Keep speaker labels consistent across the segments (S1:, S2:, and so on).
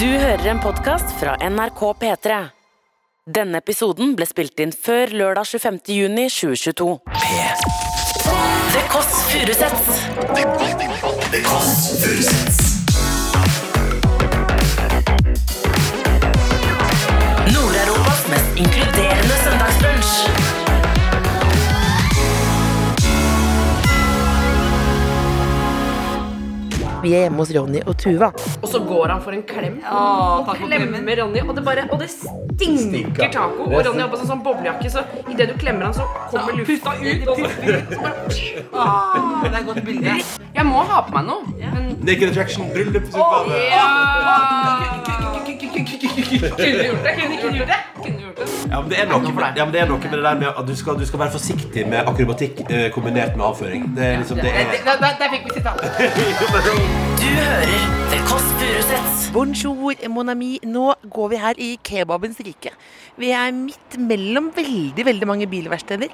S1: Du hører en podkast fra NRK P3. Denne episoden ble spilt inn før lørdag 25. juni 2022. The Kåss Furuseths. Nord-Europas mest inkluderende søndagsbrunsj.
S2: Vi er hjemme hos Ronny og Tuva.
S3: Og så går han for en klem. og klemmer Ronny. Og det, bare, og det stinker taco. Og Ronny har på seg sånn boblejakke, så idet du klemmer han, så kommer lufta ut. Og så,
S4: Det er et godt bilde.
S3: jeg må ha på meg noe. Men
S5: Naked Attraction, bryllupsutgave.
S3: kunne gjort det. Kunne gjort det. Kunne gjort det.
S5: ja, men det er noe med det, ja, men det, er noe med det der med at du skal, du skal være forsiktig med akrobatikk eh, kombinert med avføring. Det er liksom det er
S3: Der, der, der fikk vi sitatet.
S5: sånn.
S1: Du hører The Kåss Furuseths.
S2: Bonjour, mon ami. Nå går vi her i kebabens rike. Vi er midt mellom veldig, veldig mange bilverksteder.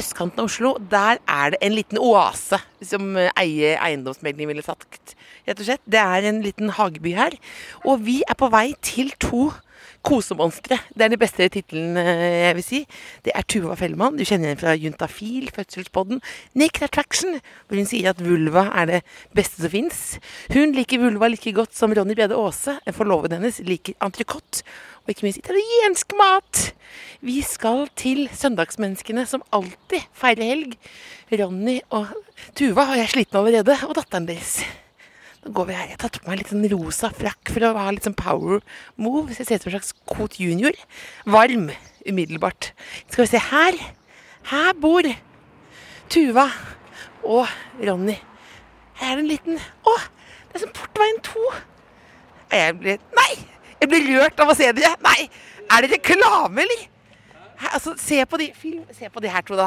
S2: Østkanten av Oslo, der er det en liten oase, som eh, eie eiendomsmeglingen ville sagt. Rett og slett. Det er en liten hageby her. Og vi er på vei til to kosemonstre. Det er den beste tittelen eh, jeg vil si. Det er Tuva Fellmann, du kjenner henne fra Juntafil, Fødselspodden, Naked Attraction, hvor hun sier at vulva er det beste som fins. Hun liker vulva like godt som Ronny Brede Aase, en forloveden hennes, liker entrecôte, og ikke minst italiensk mat. Vi skal til søndagsmenneskene som alltid feirer helg. Ronny og Tuva, og jeg er sliten allerede, og datteren deres. Nå går vi her. Jeg har tatt på meg litt sånn rosa frakk for å ha litt sånn power move. Så jeg ser ut som en slags Coot Junior. Varm umiddelbart. Skal vi se her. Her bor Tuva og Ronny. Her er det en liten Å! Det er som Portveien 2. Jeg ble Nei! Jeg ble rørt av å se dere. Nei! Er det reklame, eller? Her, altså, se på de film, Se på de her to, da.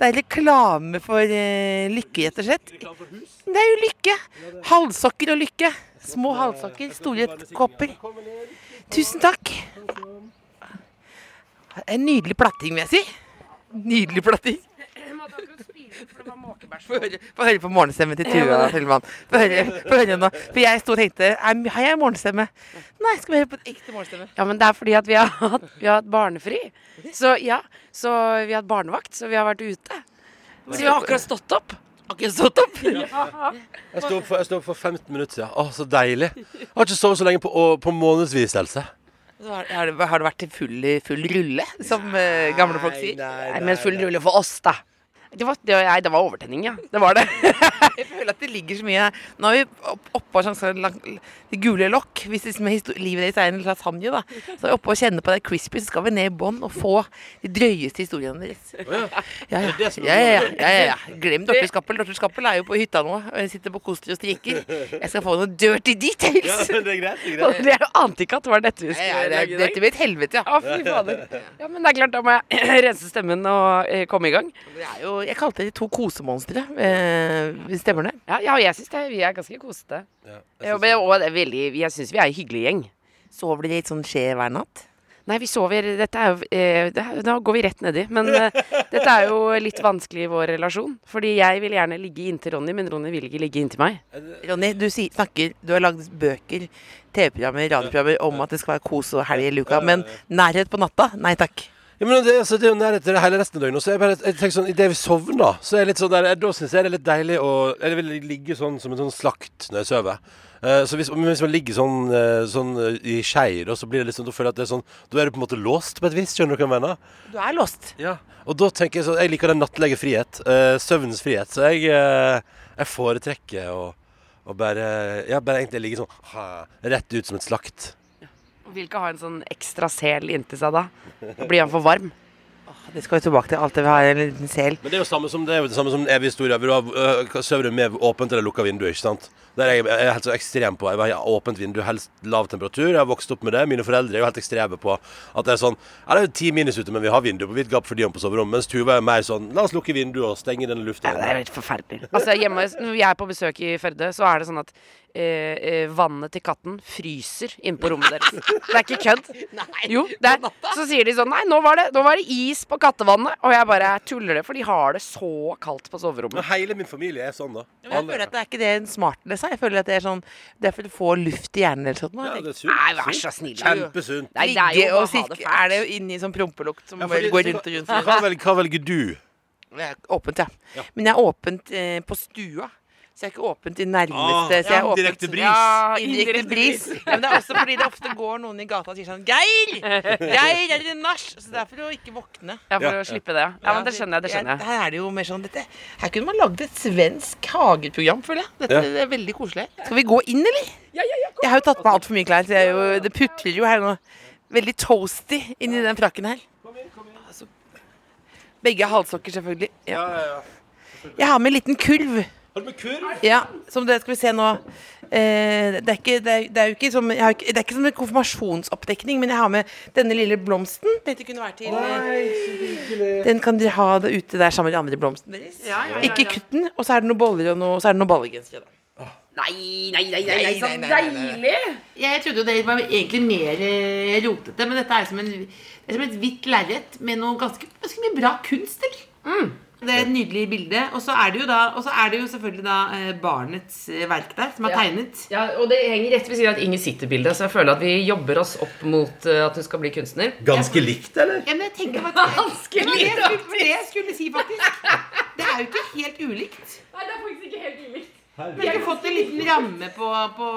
S2: Det er reklame for eh, Lykke, rett og slett. Det er jo lykke. Halssokker og lykke. Små halssokker, store kopper. Tusen takk. En nydelig platting, vil jeg si. Nydelig platting. Få høre, få høre på morgenstemmen til Tuva Fellmann. Få høre, få høre nå. For jeg sto og tenkte er- Har jeg morgenstemme? Nei, skal vi høre på en ekte morgenstemme?
S6: Ja, men det er fordi at vi har hatt, vi har hatt barnefri. Så ja, så vi har hatt barnevakt, så vi har vært ute. Så vi har akkurat stått opp.
S2: Akkurat stått opp.
S5: Jeg sto opp for, jeg sto opp for 15 minutter siden. Å, så deilig. Jeg har ikke sovet så lenge på, å- på månedsvis, Else.
S2: Så Har, har det- har det vært til full, full rulle, som eh, gamle folk sier?
S6: Nei, men full rulle for oss, da. Det var, det, var- nei, det var overtenning, ja. Det var det.
S2: Jeg føler at det ligger så mye Nå er vi opp- oppå sånn, sånn, lang- det gule lokk. Hvis liksom histo- livet deres er en lasagne, da. Så er vi oppe og kjenner på det crispy, så skal vi ned i bånn og få de drøyeste historiene deres. Ja, ja, ja. ja, ja, ja, ja, ja. Glem Dorthe Skappel. Dorthe Skappel er jo på hytta nå. og Jeg sitter på koster og strikker. Jeg skal få noen dirty details.
S5: det er greit. Det er
S6: Og det ante ikke at det var dette vi
S2: Ja, ja,
S6: skulle
S2: det,
S6: lage i
S2: dette
S6: dag.
S2: blir et helvete, ja.
S6: Å, fy fader. Ja, men det er klart, da må jeg rense stemmen og eh, komme i gang.
S2: Det er jo, jeg kalte det to kosemonstre. Eh, stemmer det?
S6: Ja, ja og jeg syns vi er ganske kosete. Ja, men-
S5: greit.
S6: og det er veldig, jeg syns vi er en hyggelig gjeng.
S2: Sover dere litt sånn skje hver natt?
S6: Nei, vi sover Dette er jo eh, det, er- Da går vi rett nedi. Men eh, dette er jo litt vanskelig i vår relasjon. Fordi jeg vil gjerne ligge inntil Ronny, men Ronny vil ikke ligge inntil meg.
S2: Ronny, du sier, snakker, du har lagd bøker, TV-programmer, radioprogrammer om at det skal være kos og helg i luka, men nærhet på natta? Nei takk.
S5: Ja, men det, altså, det er jo nærhet til det hele resten av døgnet. og Så jeg bare, jeg tenker sånn, Idet vi sovner, så er jeg litt sånn der, da syns jeg det er litt deilig å Jeg vil ligge sånn som en sånn slakt når jeg sover. Eh, så hvis, men hvis man ligger sånn, eh, sånn eh, i skeier, da, så blir det litt sånn, da føler jeg at det er sånn Da er du på en måte låst på et vis. Skjønner du hva jeg mener?
S2: Du er låst.
S5: Ja. Og da tenker jeg sånn Jeg liker den nattlige frihet. eh, søvnens frihet. Så jeg, eh, jeg foretrekker å å bare Ja, bare egentlig ligge sånn ha, rett ut som et slakt.
S6: Og vil ikke ha en sånn ekstra sel inntil seg da. Da blir han for varm.
S2: Det skal vi tilbake til. Alt det vi har en liten sel.
S5: Men det er jo samme som det er jo det samme som den evige historien. Vil du ha øh, sover du med åpent eller lukka vindu, ikke sant? Der er jeg, jeg er helt så ekstrem på. Jeg vil ha åpent vindu, helst lav temperatur. Jeg har vokst opp med det. Mine foreldre er jo helt ekstreme på at det er sånn Ja, det er jo ti minus ute, men vi har vindu på vidt gap for de om på soverommet. Mens Tuva er mer sånn La oss lukke vinduet og stenge den lufta.
S6: Ja, det er helt forferdelig. Altså, hjemme, når jeg er på besøk i Førde, så er det sånn at eh, eh, vannet til katten fryser inne på rommet deres. Det er ikke kødd. Jo, det er, så sier de sånn Nei, nå var, det, nå var det is på kattevannet. Og jeg bare tuller det, for de har det så kaldt på soverommet.
S5: Men hele min familie er sånn, da.
S2: Jeg føler at det er ikke det en smartness Jeg føler at det er sånn Det er for å få luft i hjernen eller sånn. da.
S5: Ja,
S2: Jeg
S5: det er sunt.
S7: Nei, vær så snill. da.
S5: Kjempesunt.
S7: Nei, det er
S2: Ligge
S7: jo bare å ha
S2: og
S7: det
S2: sirke-
S7: fælt.
S2: Er det jo inn i sånn prompelukt som
S5: Ja,
S2: bare
S5: fordi-
S2: går rundt og rundt?
S5: Hva, vel, hva velger du?
S2: Det er åpent, ja. Men jeg er åpent eh, på stua. Så jeg er ikke åpent i nærmeste.
S5: Ah,
S2: så jeg er
S5: ja,
S2: åpent,
S5: direkte bris.
S2: Ja,
S7: Indirekte
S2: indirekte bris. Ja, men det er også fordi det ofte går noen i gata og sier sånn Geir! Geir, er det nach? Så det er for å ikke våkne.
S7: Ja, for å slippe det. Ja, men det skjønner jeg. det skjønner jeg
S2: Her er det jo mer sånn dette. Her kunne man lagd et svensk hageprogram, føler jeg. Dette
S5: Ja.
S2: er veldig koselig. Skal vi gå inn, eller? Jeg har jo tatt på meg altfor mye klær, så jeg er jo, det putrer jo her nå. Veldig toasty inni den frakken her. Altså, Begge er halvsokker, selvfølgelig. Ja. Jeg har med en liten kurv.
S5: Har du med kurv?
S2: Ja, som det skal vi se nå. Eh, det, er ikke, det, er, det er jo ikke som jeg har, ikke- Det er ikke som en konfirmasjonsoppdekning, men jeg har med denne lille blomsten. Tenkte kunne være til eh, Den kan dere ha det ute der sammen med de andre blomstene deres. Ikke kutt den, og så er det noen boller og noe, så er det noen ballegensere. da.
S6: Ah. Nei, nei, nei, nei, nei, så deilig!
S8: Jeg trodde jo det var egentlig mer eh, rotete, men dette er som, en, det er som et hvitt lerret med noe ganske, ganske mye bra kunst, eller? Det er et nydelig bilde. Og så er det jo, da, og så er det jo selvfølgelig da eh, barnets eh, verk der, som er tegnet.
S6: Ja, og det henger rett ved siden av et Inger City-bilde, så jeg føler at vi jobber oss opp mot eh, at hun skal bli kunstner.
S5: Ganske likt, eller?
S8: Ja, men jeg tenker at det var det jeg skulle, det var det jeg skulle si, faktisk. Det er jo ikke helt ulikt.
S6: Nei, det er faktisk ikke helt ulikt.
S8: Vi har ikke fått en liten ramme på, på,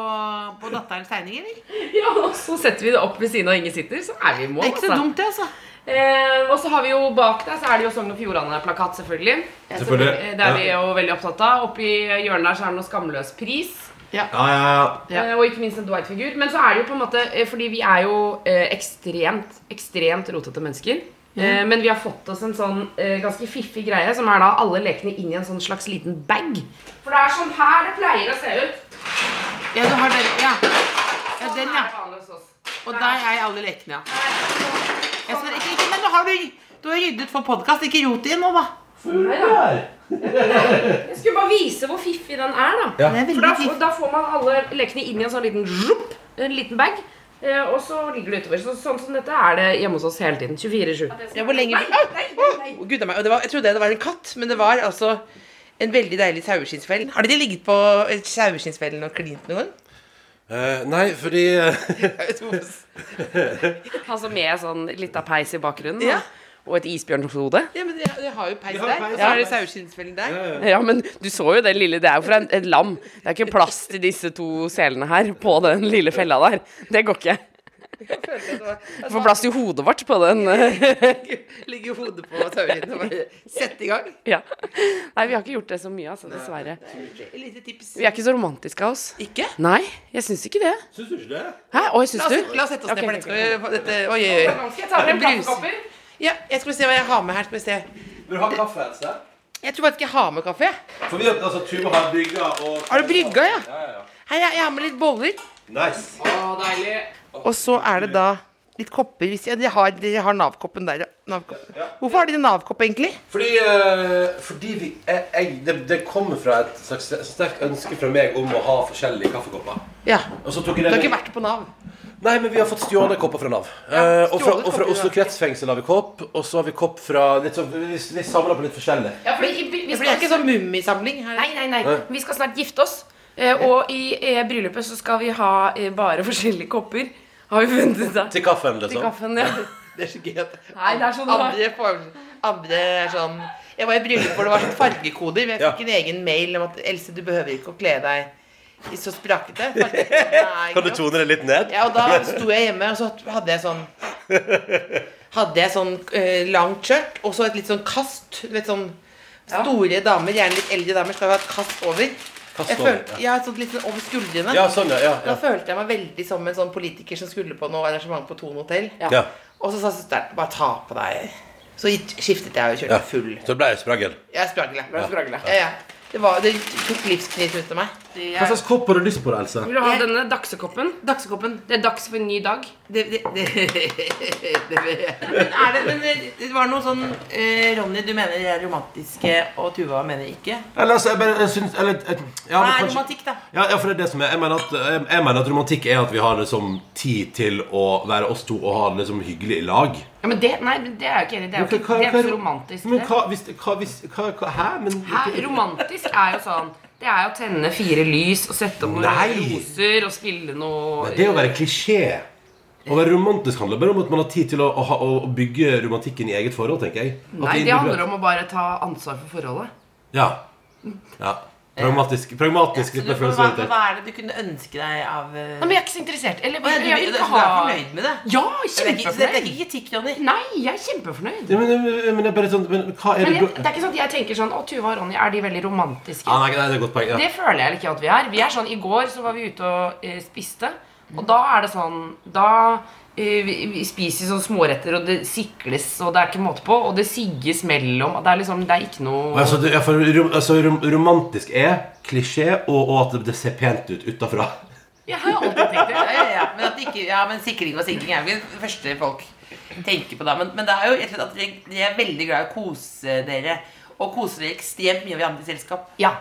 S8: på datterens tegning, eller?
S6: Ja, og så setter vi det opp ved siden av Inger City, så er vi
S8: Det
S6: i mål.
S8: er ikke så
S6: altså.
S8: dumt, det, altså.
S6: Eh, og så har vi jo bak der, så er det jo Sogn og Fjordane-plakat, selvfølgelig. Eh,
S5: Selvfølgelig.
S6: eh, Det er vi jo veldig opptatt av. Oppi hjørnet der så er det noe skamløs pris.
S5: Ja, ja, ja.
S8: Ja.
S6: Eh, Og ikke minst en Dwight-figur. Men så er det jo på en måte eh, Fordi vi er jo eh, ekstremt, ekstremt rotete mennesker. Eh, Men vi har fått oss en sånn eh, ganske fiffig greie, som er da alle lekene inn i en sånn slags liten bag. For det er sånn her det pleier å se ut.
S8: Ja, du har den, ja. ja
S6: Sånn
S8: den,
S6: er
S8: ja.
S6: det vanlig hos oss.
S8: Og der er alle lekene, ja. Jeg ser, ikke, ikke, men nå har du, du har ryddet for podkast. Ikke rot i nå, da.
S6: Jeg skulle bare vise hvor fiffig den er, da.
S8: Det er
S6: For da,
S8: veldig
S6: får-
S8: fint.
S6: da får man alle lekene inn i en sånn liten zhup, en liten bag. eh, Og så ligger det utover. Så, sånn som dette er det hjemme hos oss hele tiden. 24-7.
S2: Ja, hvor lenge vi... Å, Gud a meg. Og det var, jeg trodde det var en katt, men det var altså en veldig deilig saueskinnsfell. Har dere ligget på saueskinnsfellen og klint noen gang?
S5: Eh, nei, fordi eh,
S6: Altså med sånn lita peis i bakgrunnen.
S2: Ja.
S6: Og et isbjørnhode.
S2: Ja, men dere dere har jo peis
S5: har
S2: der.
S5: peis,
S2: Og så har
S5: ja.
S2: dere saueskinnsfellen der.
S6: Ja, men du så jo den lille Det er jo fra en- et lam. Det er ikke plass til disse to selene her på den lille fella der. Det går ikke. Du får plass til hodet vårt på den. eh,
S2: Ligger hodet på saueskinnet og bare sette i gang.
S6: Ja. Nei, vi har ikke gjort det så mye, altså. Dessverre.
S2: Et lite tips.
S6: Vi er ikke så romantiske av oss.
S2: Ikke?
S6: Nei, jeg syns ikke det.
S5: Syns du ikke det?
S6: Hæ? Oi, syns
S2: La
S6: du?
S2: oss, la oss sette oss
S6: Ok,
S2: ned
S6: ok,
S2: for dette. for dette. Oi, oi, oi.
S6: Skal jeg ta frem
S2: Brus.
S6: kaffekopper?
S2: Ja, jeg skal se hva jeg har med her. Skal vi se.
S5: Vil du ha kaffe, Else?
S2: Jeg tror faktisk jeg har med kaffe. jeg.
S5: For vi har altså Tuva har brygga og
S2: Har du brygga, ja?
S5: Ja, ja, ja.
S2: Hei, jeg, jeg har med litt boller.
S5: Nice.
S2: Og så er det da litt kopper. Hvis jeg, dere har, dere har Nav-koppen der, ja. Nav-koppen. Hvorfor har dere Nav-kopp, egentlig?
S5: Fordi, eh, fordi vi, jeg, jeg, det, det kommer fra et slags sterkt ønske fra meg om å ha forskjellige kaffekopper.
S2: Ja.
S5: Og så tok jeg
S2: Du
S5: det
S2: har
S5: med-
S2: ikke vært på Nav?
S5: Nei, men vi har fått stjålet kopper fra Nav. Eh,
S2: stjålet
S5: og, fra, og fra
S2: kopper,
S5: Oslo
S2: ja.
S5: kretsfengsel har vi kopp. Og så har vi kopp fra litt sånn, Vi, vi samler på litt forskjellig.
S6: Ja, fordi vi, vi
S2: For det er
S6: skal,
S2: ikke sånn mummisamling her.
S6: nei, nei, nei. Vi skal snart gifte oss. eh, Og i eh, bryllupet så skal vi ha eh, bare forskjellige kopper. Har vi funnet ut av.
S5: Til kaffen,
S6: Til
S5: liksom.
S6: kaffen, ja.
S2: Det er så gøy at
S6: Nei, det er sånn
S2: andre, form, andre er sånn Jeg var i bryllup hvor det var sånn fargekoder. men Jeg fikk en egen mail om at Else, du behøver ikke å kle deg i så sprakete.
S5: Kan du
S2: Fargekodene er
S5: tone det litt ned?
S2: Ja, og da sto jeg hjemme, og så hadde jeg sånn Hadde jeg sånn eh, langt skjørt og så et litt sånn kast. Du vet sånn Store damer, gjerne litt eldre damer, skal jo ha et kast over.
S5: Kast
S2: Jeg
S5: over,
S2: følte, ja, sånn litt sånn over skuldrene.
S5: Ja, sånn, ja. ja,
S2: Da
S5: ja.
S2: følte jeg meg veldig som en sånn politiker som skulle på noe arrangement på Thon hotell.
S5: ja.
S2: Og så sa søsteren 'bare ta på deg'. Så gitt- skiftet jeg og kjørte
S5: Ja.
S2: full.
S5: Så det ble spragel.
S2: Jeg spragla. Ja, ja. Det, var, det tok livsknit ut av meg.
S5: Hva slags kopp har du lyst på, Else?
S6: Vil du ha denne dagsekoppen?
S8: Dagsekoppen.
S6: Det er dags for en ny dag.
S8: Det, det, det, Men er det, men det var noe sånn eh, Ronny, du mener de er romantiske, og Tuva mener ikke.
S5: Eller, altså, jeg bare jeg syns eller, et- ja,
S8: Hva
S5: men
S8: er
S5: kanskje-
S8: romantikk, da?
S5: Ja, ja, for det er det som er jeg mener, at, jeg, jeg mener at romantikk er at vi har liksom tid til å være oss to og ha det liksom hyggelig i lag.
S6: Ja, men det, nei, men det er jo ikke enig. Det er jo ikke, det er jo ikke så romantisk.
S5: Men
S6: det.
S5: hva hvis hva, hvis, hva, hva Hæ? Men
S6: Hæ? Romantisk er jo sånn Det er jo å tenne fire lys og sette opp noen
S5: Nei.
S6: roser og spille noe
S5: Det å være klisjé Å være romantisk handler bare om at man har tid til å, å, ha- å bygge romantikken i eget forhold, tenker jeg. At
S6: Nei, det handler om å bare ta ansvar for forholdet.
S5: Ja. ja. Pragmatisk, pragmatisk
S2: Så
S5: litt med
S2: du, hva,
S5: følelser.
S2: hva er det du kunne ønske deg av eh,
S6: Nei, men jeg er ikke så interessert. Eller,
S2: Å, ja,
S6: jeg
S2: du, vil-
S6: vil
S2: du
S6: ikke
S2: er
S6: ha
S2: fornøyd med det?
S6: Ja,
S2: Det er ikke, så dette er
S6: kjempefornøyd.
S2: ikke kritikk, Jonny.
S6: Nei, jeg er kjempefornøyd.
S5: Ja, men, men, det er bare sånn, men hva er
S6: Men
S5: det
S6: jeg,
S5: du
S6: det er ikke sånn at jeg tenker sånn Å, Tuva og Ronny, er de veldig romantiske?
S5: ah, nei, nei, det er et godt poeng. Ja.
S6: Det føler jeg ikke at vi er. Vi er sånn, I går så var vi ute og eh, spiste, og da er det sånn Da eh, vi, vi spiser sånn småretter, og det sikles, og det er ikke måte på, og det sigges mellom og Det er liksom, det er ikke noe
S5: Altså, det, ja, for, rom, altså, rom, romantisk er klisjé, og, og at det ser pent ut utafra.
S6: Jeg har alltid tenkt det.
S2: Ja, ja, ja. Men, at det ikke, ja, men sikring og sinking er jo ikke det første folk tenker på da. Men, men det er jo rett og slett at dere- dere er veldig glad i å kose dere. Og koser dere ekstremt mye over andre selskap.
S6: Ja.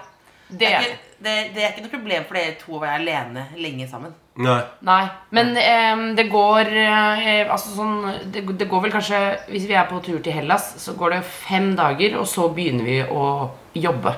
S2: Det
S6: Det
S2: er, ikke, det, det er ikke noe problem for dere to å være alene lenge sammen.
S5: Nei.
S6: Nei, men ehm, det går eh, Altså sånn det, det går vel kanskje Hvis vi er på tur til Hellas, så går det fem dager, og så begynner vi å jobbe.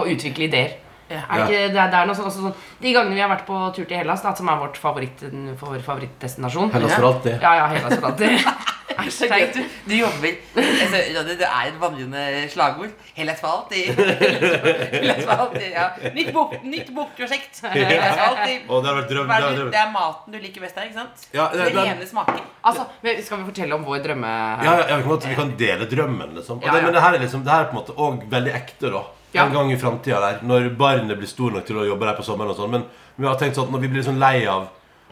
S6: Og utvikle ideer. Er det, ikke, det, er- det er noe sånn, også sånn De gangene vi har vært på tur til Hellas, da, som er vårt favoritt, vår favorittdestinasjon
S5: Hellas for alltid.
S6: Ja, ja, Hellas for alltid. Hashtag.
S2: Du, du jobber altså, ja, Det det er et vandrende slagord. Hellas for alltid. Hellas for alltid, ja. Nytt bok- nytt bokprosjekt. Hellas for alltid.
S5: Å, det har vært drøm.
S2: Hva
S5: Det
S2: er
S5: har
S2: det,
S5: vært
S2: det
S5: drøm.
S2: er maten du liker best her, ikke sant?
S5: Ja, det-
S2: det,
S5: det-
S2: rene smaker.
S6: altså, men skal vi fortelle om vår drømme...?
S5: Ja, ja, ja, vi, kan, godt- vi kan dele drømmen, liksom. Og
S6: Ja,
S5: det,
S6: ja.
S5: men det her er liksom, det her er på en måte òg veldig ekte, da.
S6: Ja.
S5: En gang i framtida der, når barnet blir stor nok til å jobbe der på sommeren og sånn. Men vi har tenkt sånn at når vi blir sånn lei av,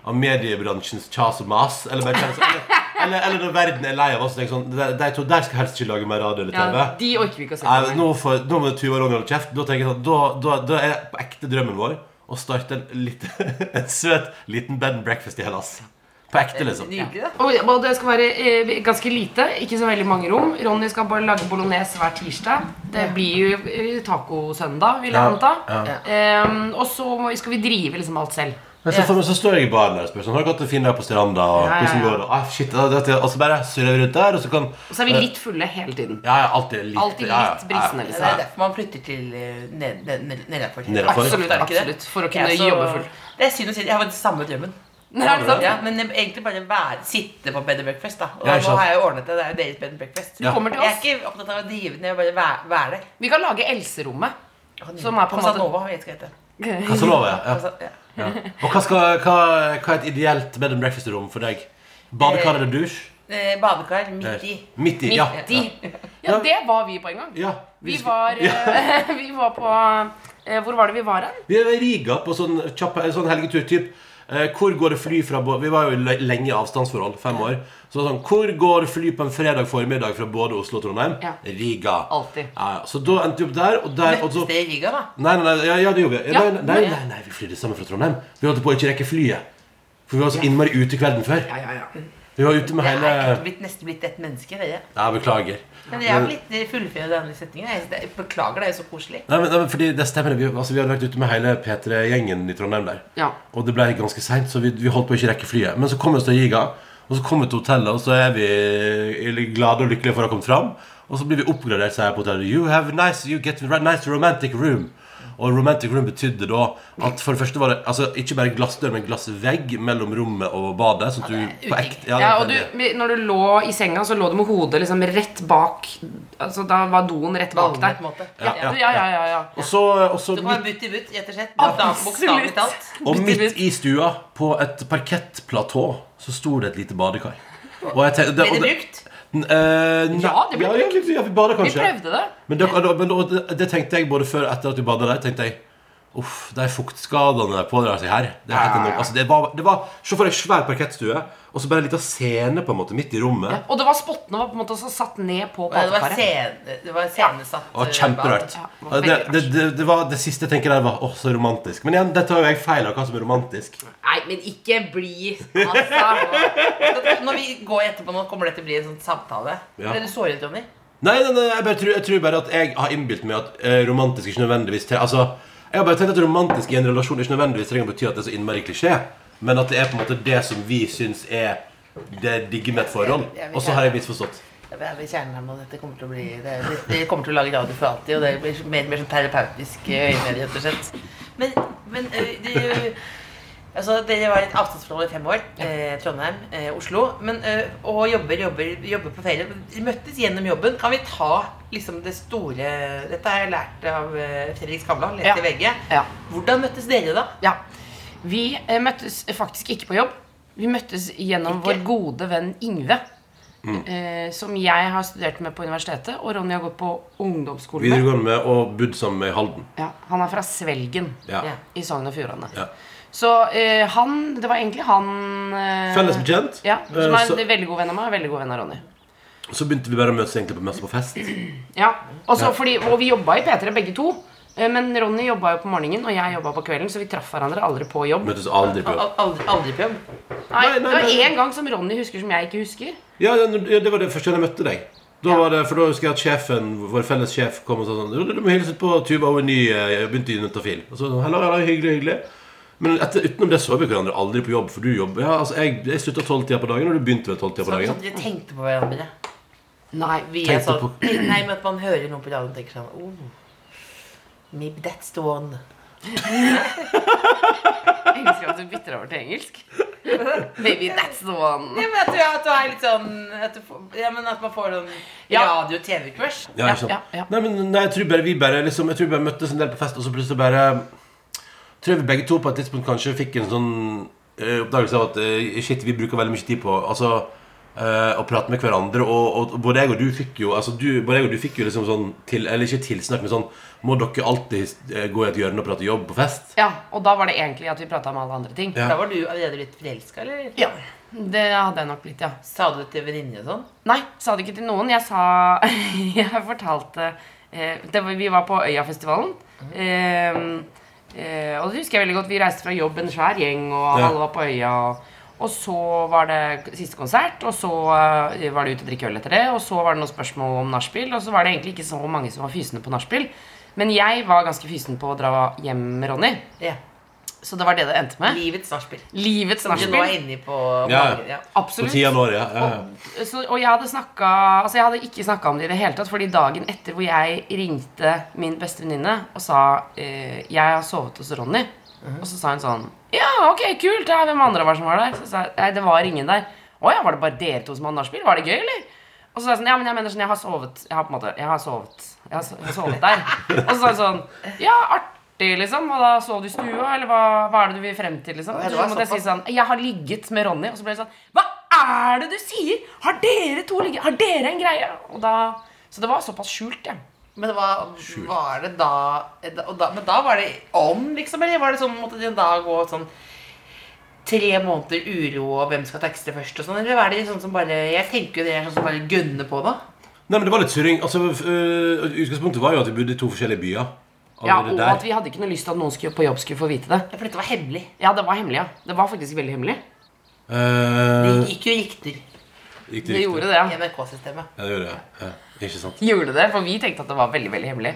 S5: av mediebransjens kjas og mas, eller, bare kjenner sånn, eller, eller, eller når verden er lei av oss, tenker sånn De, de to der skal helst ikke lage mer radio eller
S6: Ja,
S5: TV.
S6: de orker vi ikke å se
S5: Nei,
S6: på.
S5: men
S6: mer.
S5: nå, får, nå må Tuva Ronny holde kjeft. Da tenker jeg sånn, da, da, da er på ekte drømmen vår å starte en, liten- en søt liten bed and breakfast i Hellas. På ekte, liksom.
S2: Nydelig, da.
S6: Og, og det skal være eh, ganske lite, ikke så veldig mange rom. Ronny skal bare lage bolognese hver tirsdag. Det blir jo eh, tacosøndag, vil jeg
S5: Ja,
S6: anta.
S5: ja.
S6: Ehm, og så må, skal vi drive liksom alt selv.
S5: Men så, for meg, så står jeg i baren der og spør sånn, har du gått og fint der på stranda. Og
S6: Ja, ja,
S5: hvordan
S6: ja.
S5: går det? Ah, shit, da, dette, og så bare surrer vi rundt der, og så kan
S6: Og så er vi litt fulle hele tiden.
S5: Ja, ja, alltid litt,
S6: Alltid
S5: ja, ja,
S6: litt brisende,
S5: ja,
S2: Det er
S5: ja.
S2: derfor man flytter til eh, ned- ned- ned- nedenfor.
S5: Nedenfor.
S6: Absolutt,
S2: Er det ikke det?
S6: absolutt, for å kunne
S2: Ja, så-
S6: jobbe full.
S2: Det er synd å si. Jeg har den samme drømmen.
S6: Er det sant?
S2: Ja, men jeg- egentlig bare være, sitte på bed and breakfast. da Og
S5: Ja, ikke
S2: nå
S5: sant.
S2: har jeg jo ordnet det. Det er jo deres bed and breakfast.
S5: Ja.
S6: Kommer til
S2: Jeg er
S6: oss.
S2: ikke opptatt av å drive den, jeg vil bare være, være der.
S6: Vi kan lage Else-rommet. Som er på en måte-
S2: Casanova, jeg vet ikke hva det heter.
S5: Casanova, ja. ja.
S2: Casa- ja.
S5: Og hva, skal, hva, hva er et ideelt bed and breakfast-rom for deg? Badekar eller dusj?
S2: Eh, Badekar midt i.
S5: Midt i. Ja.
S6: De. Ja, det var vi på en gang.
S5: ja.
S6: Vi var, eh, vi var på eh, Hvor var det vi var hen?
S5: Vi var i Riga på sånn, kjapp, en sånn helgetur typ. Eh, hvor går det fly fra Bå- Vi var jo i le- lenge avstandsforhold, fem år. Så det var sånn, Hvor går det fly på en fredag formiddag fra både Oslo og Trondheim?
S6: Ja.
S5: Riga.
S6: Alltid.
S5: Ja, ja. Så da endte vi opp der, og der og så,
S2: Møttes det i Riga, da?
S5: Nei, nei, nei, ja, ja, det gjorde vi.
S6: Ja.
S5: Nei, nei, nei, nei, nei, vi flydde sammen fra Trondheim. Vi holdt på å ikke rekke flyet. For vi var så innmari ute kvelden før.
S6: Ja, ja, ja.
S5: Vi var ute med
S2: Jeg
S5: hele
S2: er blitt, nesten blitt et menneske, dere.
S5: Ja, beklager.
S2: Men jeg har blitt fullført denne setningen. Jeg- Jeg beklager, det er jo så koselig.
S5: Nei, men, nei, men fordi det stemmer. Vi, altså, vi hadde vært ute med hele P3-gjengen i Trondheim der.
S6: Ja.
S5: Og det ble ganske seint, så vi, vi holdt på å ikke rekke flyet. Men så kom vi oss til Riga, og så kom vi til hotellet, og så er vi eller, glade og lykkelige for å ha kommet fram. Og så blir vi oppgradert, sier jeg på hotellet. You have nice, you get a nice romantic room. Og romantic room betydde da at for det første var det altså, ikke bare glassdør, men glassvegg mellom rommet og badet. Sånn at du på ekte ja,
S6: Ja, og
S5: det
S6: du,
S5: er det.
S6: når du lå i senga, så lå du med hodet liksom rett bak Altså, Da var doen rett bak
S2: Ballene,
S6: deg.
S2: på en måte.
S6: Ja, ja, ja, ja, ja.
S5: Og så, og så
S2: Det var butt i butt, rett og slett.
S6: Absolutt.
S2: Bokstavelig talt.
S5: Og midt i stua, på et parkettplatå, så sto det et lite badekar. Og jeg tenkte,
S2: Ble det
S5: og
S2: brukt?
S5: N- eh, nei-
S6: Ja, det ble
S5: ja, ja, vi, ja, vi bada
S6: Vi
S5: kanskje.
S6: prøvde det.
S5: Men, det, og- men og det, det tenkte jeg både før og etter at vi bada der. tenkte jeg Uff, de fuktskadene pådrar seg her. Det, er helt enormt. altså, det var, det var Se for deg svær parkettstue, og så bare en liten scene på en måte midt i rommet.
S6: Og det var spottene var på en måte også satt ned på
S2: Ja, Det var,
S6: badekaret.
S2: scene, det var scenesatt. eh,
S5: Og Kjemperart.
S6: Ja, det var
S5: Det,
S6: veldig
S5: det, det, det var det siste jeg tenker der var Åh, så romantisk. Men igjen, dette har jo jeg feil av hva som er romantisk.
S6: Nei, men ikke bli
S2: Altså, når vi går etterpå nå, kommer det til å bli en sånn samtale.
S5: Ja.
S2: Ble du såret, Jonny?
S5: Nei, nei, nei jeg, bare tror, jeg tror bare at jeg har innbilt meg at eh, romantisk ikke nødvendigvis tre- Altså, jeg har bare tenkt at romantisk i en relasjon ikke nødvendigvis trenger å bety at det er så innmari klisjé, men at det er på en måte det som vi syns er det digge med et forhold. Og så har jeg misforstått.
S2: Jeg er ved kjernen her nå. Dette kommer til å bli det, det kommer til å lage radio for alltid. Og det blir mer og mer sånn terapeutisk eh, øyemed, rett og slett. Men, men eh, det, altså, dere var i et avstandsforhold i fem år. Eh, Trondheim, eh, Oslo. Men, eh, og jobber, jobber, jobber på ferie. Dere møttes gjennom jobben. Kan vi ta liksom det store Dette har jeg lært av eh, Fredrik Skavlan, lest
S6: Ja.
S2: i VG.
S6: Ja.
S2: Hvordan møttes dere, da?
S6: Ja. Vi eh, møttes faktisk ikke på jobb. Vi møttes gjennom vår gode venn Ingve.
S5: Mm.
S6: Eh, som jeg har studert med på universitetet, og Ronny har gått på ungdomsskolen med.
S5: Videregående med og bodd sammen med i Halden.
S6: Ja, han er fra Svelgen
S5: Ja.
S2: Ja.
S6: i Sogn og Fjordane.
S5: Ja.
S6: Så eh, han Det var egentlig han eh,
S5: Felles bekjent.
S6: Ja, som
S5: Eh,
S6: er
S5: så,
S6: en veldig god venn av meg og veldig god venn av Ronny.
S5: så begynte vi bare å møtes egentlig på mest på fest.
S6: Ja, og, så fordi, og vi jobba i P3 begge to. eh, Men Ronny jobba jo på morgenen, og jeg jobba på kvelden. Så vi traff hverandre aldri på jobb.
S5: Møttes aldri på
S2: Al- Aldri, aldri på jobb?
S6: Nei,
S5: Nei, nei,
S6: Det var
S5: nei.
S6: én gang som Ronny husker som jeg ikke husker.
S5: Ja, det, ja, det var det første gang jeg møtte deg. Da var det, for da husker jeg at sjefen, vår felles sjef kom og sa sånn Du, du må hilse på Tuva, hun er ny, eh, begynte i Nutafil. Og så sånn, hello, hello, hyggelig, hyggelig. Men etter, utenom det så vi hverandre aldri på jobb, for du jobber ja, altså, Jeg, jeg slutta tolvtida på dagen, og du begynte ved tolvtida på
S2: Sånn,
S5: dagen.
S2: sånn, dere tenkte på hverandre?
S6: Nei,
S2: Vi er
S5: Tenkte
S2: sånn,
S5: på-
S2: nei, men at man hører noen på radioen og tenker sånn oh, Maybe that's the one.
S6: Jeg elsker at du bytter over til engelsk. Maybe that's the one.
S2: Ja, men at du, at du er litt sånn at, du får, ja, men at man får sånn
S6: Ja.
S2: radio-TV-crush.
S5: Ja, ikke sant?
S6: ja, ja.
S5: Nei, men nei, jeg tror bare vi bare liksom, Jeg tror vi bare møttes en del på fest, og så plutselig bare Tror jeg vi begge to på et tidspunkt kanskje fikk en sånn eh, oppdagelse av at eh, shit, vi bruker veldig mye tid på Altså eh, å prate med hverandre. Og, og, og både jeg og du fikk jo Altså du, både jeg og du fikk jo liksom sånn til, Eller ikke tilsnakk, men sånn Må dere alltid eh, gå i et hjørne og prate jobb på fest?
S6: Ja, Og da var det egentlig at vi prata om alle andre ting.
S5: Ja.
S2: Da var du allerede litt forelska, eller?
S6: Ja, Det hadde jeg nok blitt, ja.
S2: Sa du det til venninner og sånn?
S6: Nei, sa det ikke til noen. Jeg sa Jeg fortalte eh, det var, Vi var på Øyafestivalen. Eh, eh, og det husker jeg veldig godt. Vi reiste fra jobb en svær gjeng, og
S5: Ja.
S6: alle var på Øya. Og, og så var det k- siste konsert, og så eh, var det ut og drikke øl etter det. Og så var det noen spørsmål om nachspiel, og så var det egentlig ikke så mange som var fysende på nachspiel. Men jeg var ganske fysen på å dra hjem med Ronny,
S2: Ja.
S6: så det var det det endte med.
S2: Livets nachspiel.
S6: Livets
S2: Som du nå er
S6: nachspiel.
S2: inne på.
S5: Ja.
S2: ja.
S5: På
S6: Absolutt.
S5: tida nå, ja. ja, ja.
S6: så, og jeg hadde snakka Altså jeg hadde ikke snakka om det i det hele tatt, fordi dagen etter hvor jeg ringte min beste venninne og sa eh, 'Jeg har sovet hos Ronny', og så sa hun sånn 'Ja, ok, kult. Ja, hvem andre var det som var der?' Så sa jeg 'Nei, det var ingen der'. 'Å ja, var det bare dere to som hadde nachspiel? Var det gøy, eller?' Og så sa jeg sånn, ja, men jeg mener sånn, jeg har sovet Jeg har på en måte, jeg har sovet Jeg har, so- jeg har sovet der Og så sa hun sånn, ja, artig liksom Og da sov du i stua, eller hva, hva er det du vil frem til liksom Og
S2: det
S6: så
S2: var
S6: måtte jeg si
S2: såpass.
S6: sånn, jeg har ligget med Ronny Og så ble det sånn, hva er det du sier? Har dere to ligget? Har dere en greie? Og da, så det var såpass skjult, ja
S2: Men hva var det da, og da Men da var det om, liksom? Eller var det sånn måtte det da gå sånn tre måneder uro og hvem skal tekste først og sånn? Eller var det sånn som bare Jeg tenker jo det er sånn som bare gønner på, da.
S5: Nei, men det var litt surring. Altså, øh, utgangspunktet var jo at vi bodde i to forskjellige byer.
S6: Ja,
S5: Allerede
S6: og
S5: der.
S6: at vi hadde ikke noe lyst til at noen skulle, på jobb skulle få vite det
S2: For dette var hemmelig.
S6: Ja, det var hemmelig, ja Det var faktisk veldig hemmelig
S2: Det
S5: Eh,
S2: gikk jo i rykter
S5: gikk
S6: Det
S5: riktig?
S6: gjorde det, ja
S2: i NRK-systemet.
S5: Ja, det gjorde det. Ja, ikke sant.
S6: gjorde det, for vi tenkte at det var veldig, veldig hemmelig.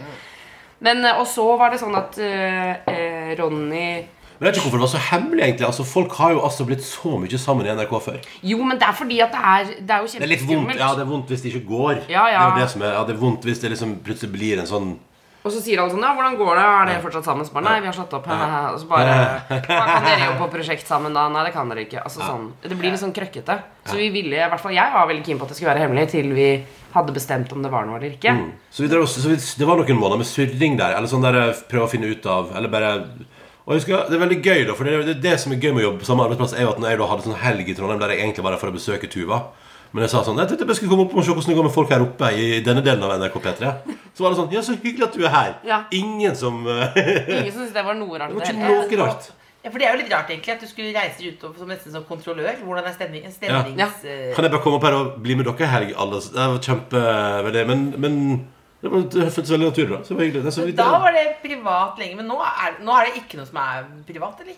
S6: Men, eh, og så var det sånn at eh, eh, Ronny
S5: Men Jeg vet ikke hvorfor det var så hemmelig, egentlig. Altså, Folk har jo altså blitt så mye sammen i NRK før.
S6: Jo, men det er fordi at det er, det er jo
S5: Det er litt vondt
S6: kjempeskummelt.
S5: ja, det er vondt hvis det ikke går.
S6: Ja, ja.
S5: Det er jo det som er, ja, det er vondt hvis det liksom plutselig blir en sånn
S6: Og så sier alle sånn Ja, hvordan går det? Er dere fortsatt sammen? Så bare, Nei, vi har slått opp. Og så bare «Hva, Kan dere jobbe på prosjekt sammen da? Nei, det kan dere ikke. Altså sånn Det blir litt sånn krøkkete. Så vi ville, i hvert fall jeg var veldig keen på at det skulle være hemmelig til vi hadde bestemt om det var noe eller ikke.
S5: Så, vi drev, også- så vi, det var noen måneder med surring der. Eller sånn der eh, prøve å finne ut av Eller bare og jeg husker, Det er veldig gøy, da. For det, det, det som er gøy med å jobbe på samme arbeidsplass, er jo at når jeg da hadde sånn helg i Trondheim der jeg egentlig var der for å besøke Tuva men jeg sa sånn, jeg tenkte jeg skulle komme opp og se hvordan det går med folk her oppe i denne delen av NRK P3. Så var det sånn, ja, så hyggelig at du er her.
S6: Ja.
S5: Ingen som eh,
S6: Ingen syntes det var noe rart.
S5: Det var
S6: i det
S5: ikke
S6: hele tatt.
S5: noe rart.
S2: Ja, for Det er jo litt rart egentlig at du skulle reise ut og- som nesten som kontrollør. Hvordan er stemning,
S5: Ja.
S2: stemnings... eh,
S5: Ja. Kan jeg bare komme opp her og bli med dere i helg? Alle? Det var kjempeveldig. Men, men det, var, det føltes veldig naturlig. Da. Så det var hyggelig. Det er så
S2: eh,
S5: vidt-
S2: Da var det privat lenge, men nå er, nå er det ikke noe som er privat, eller?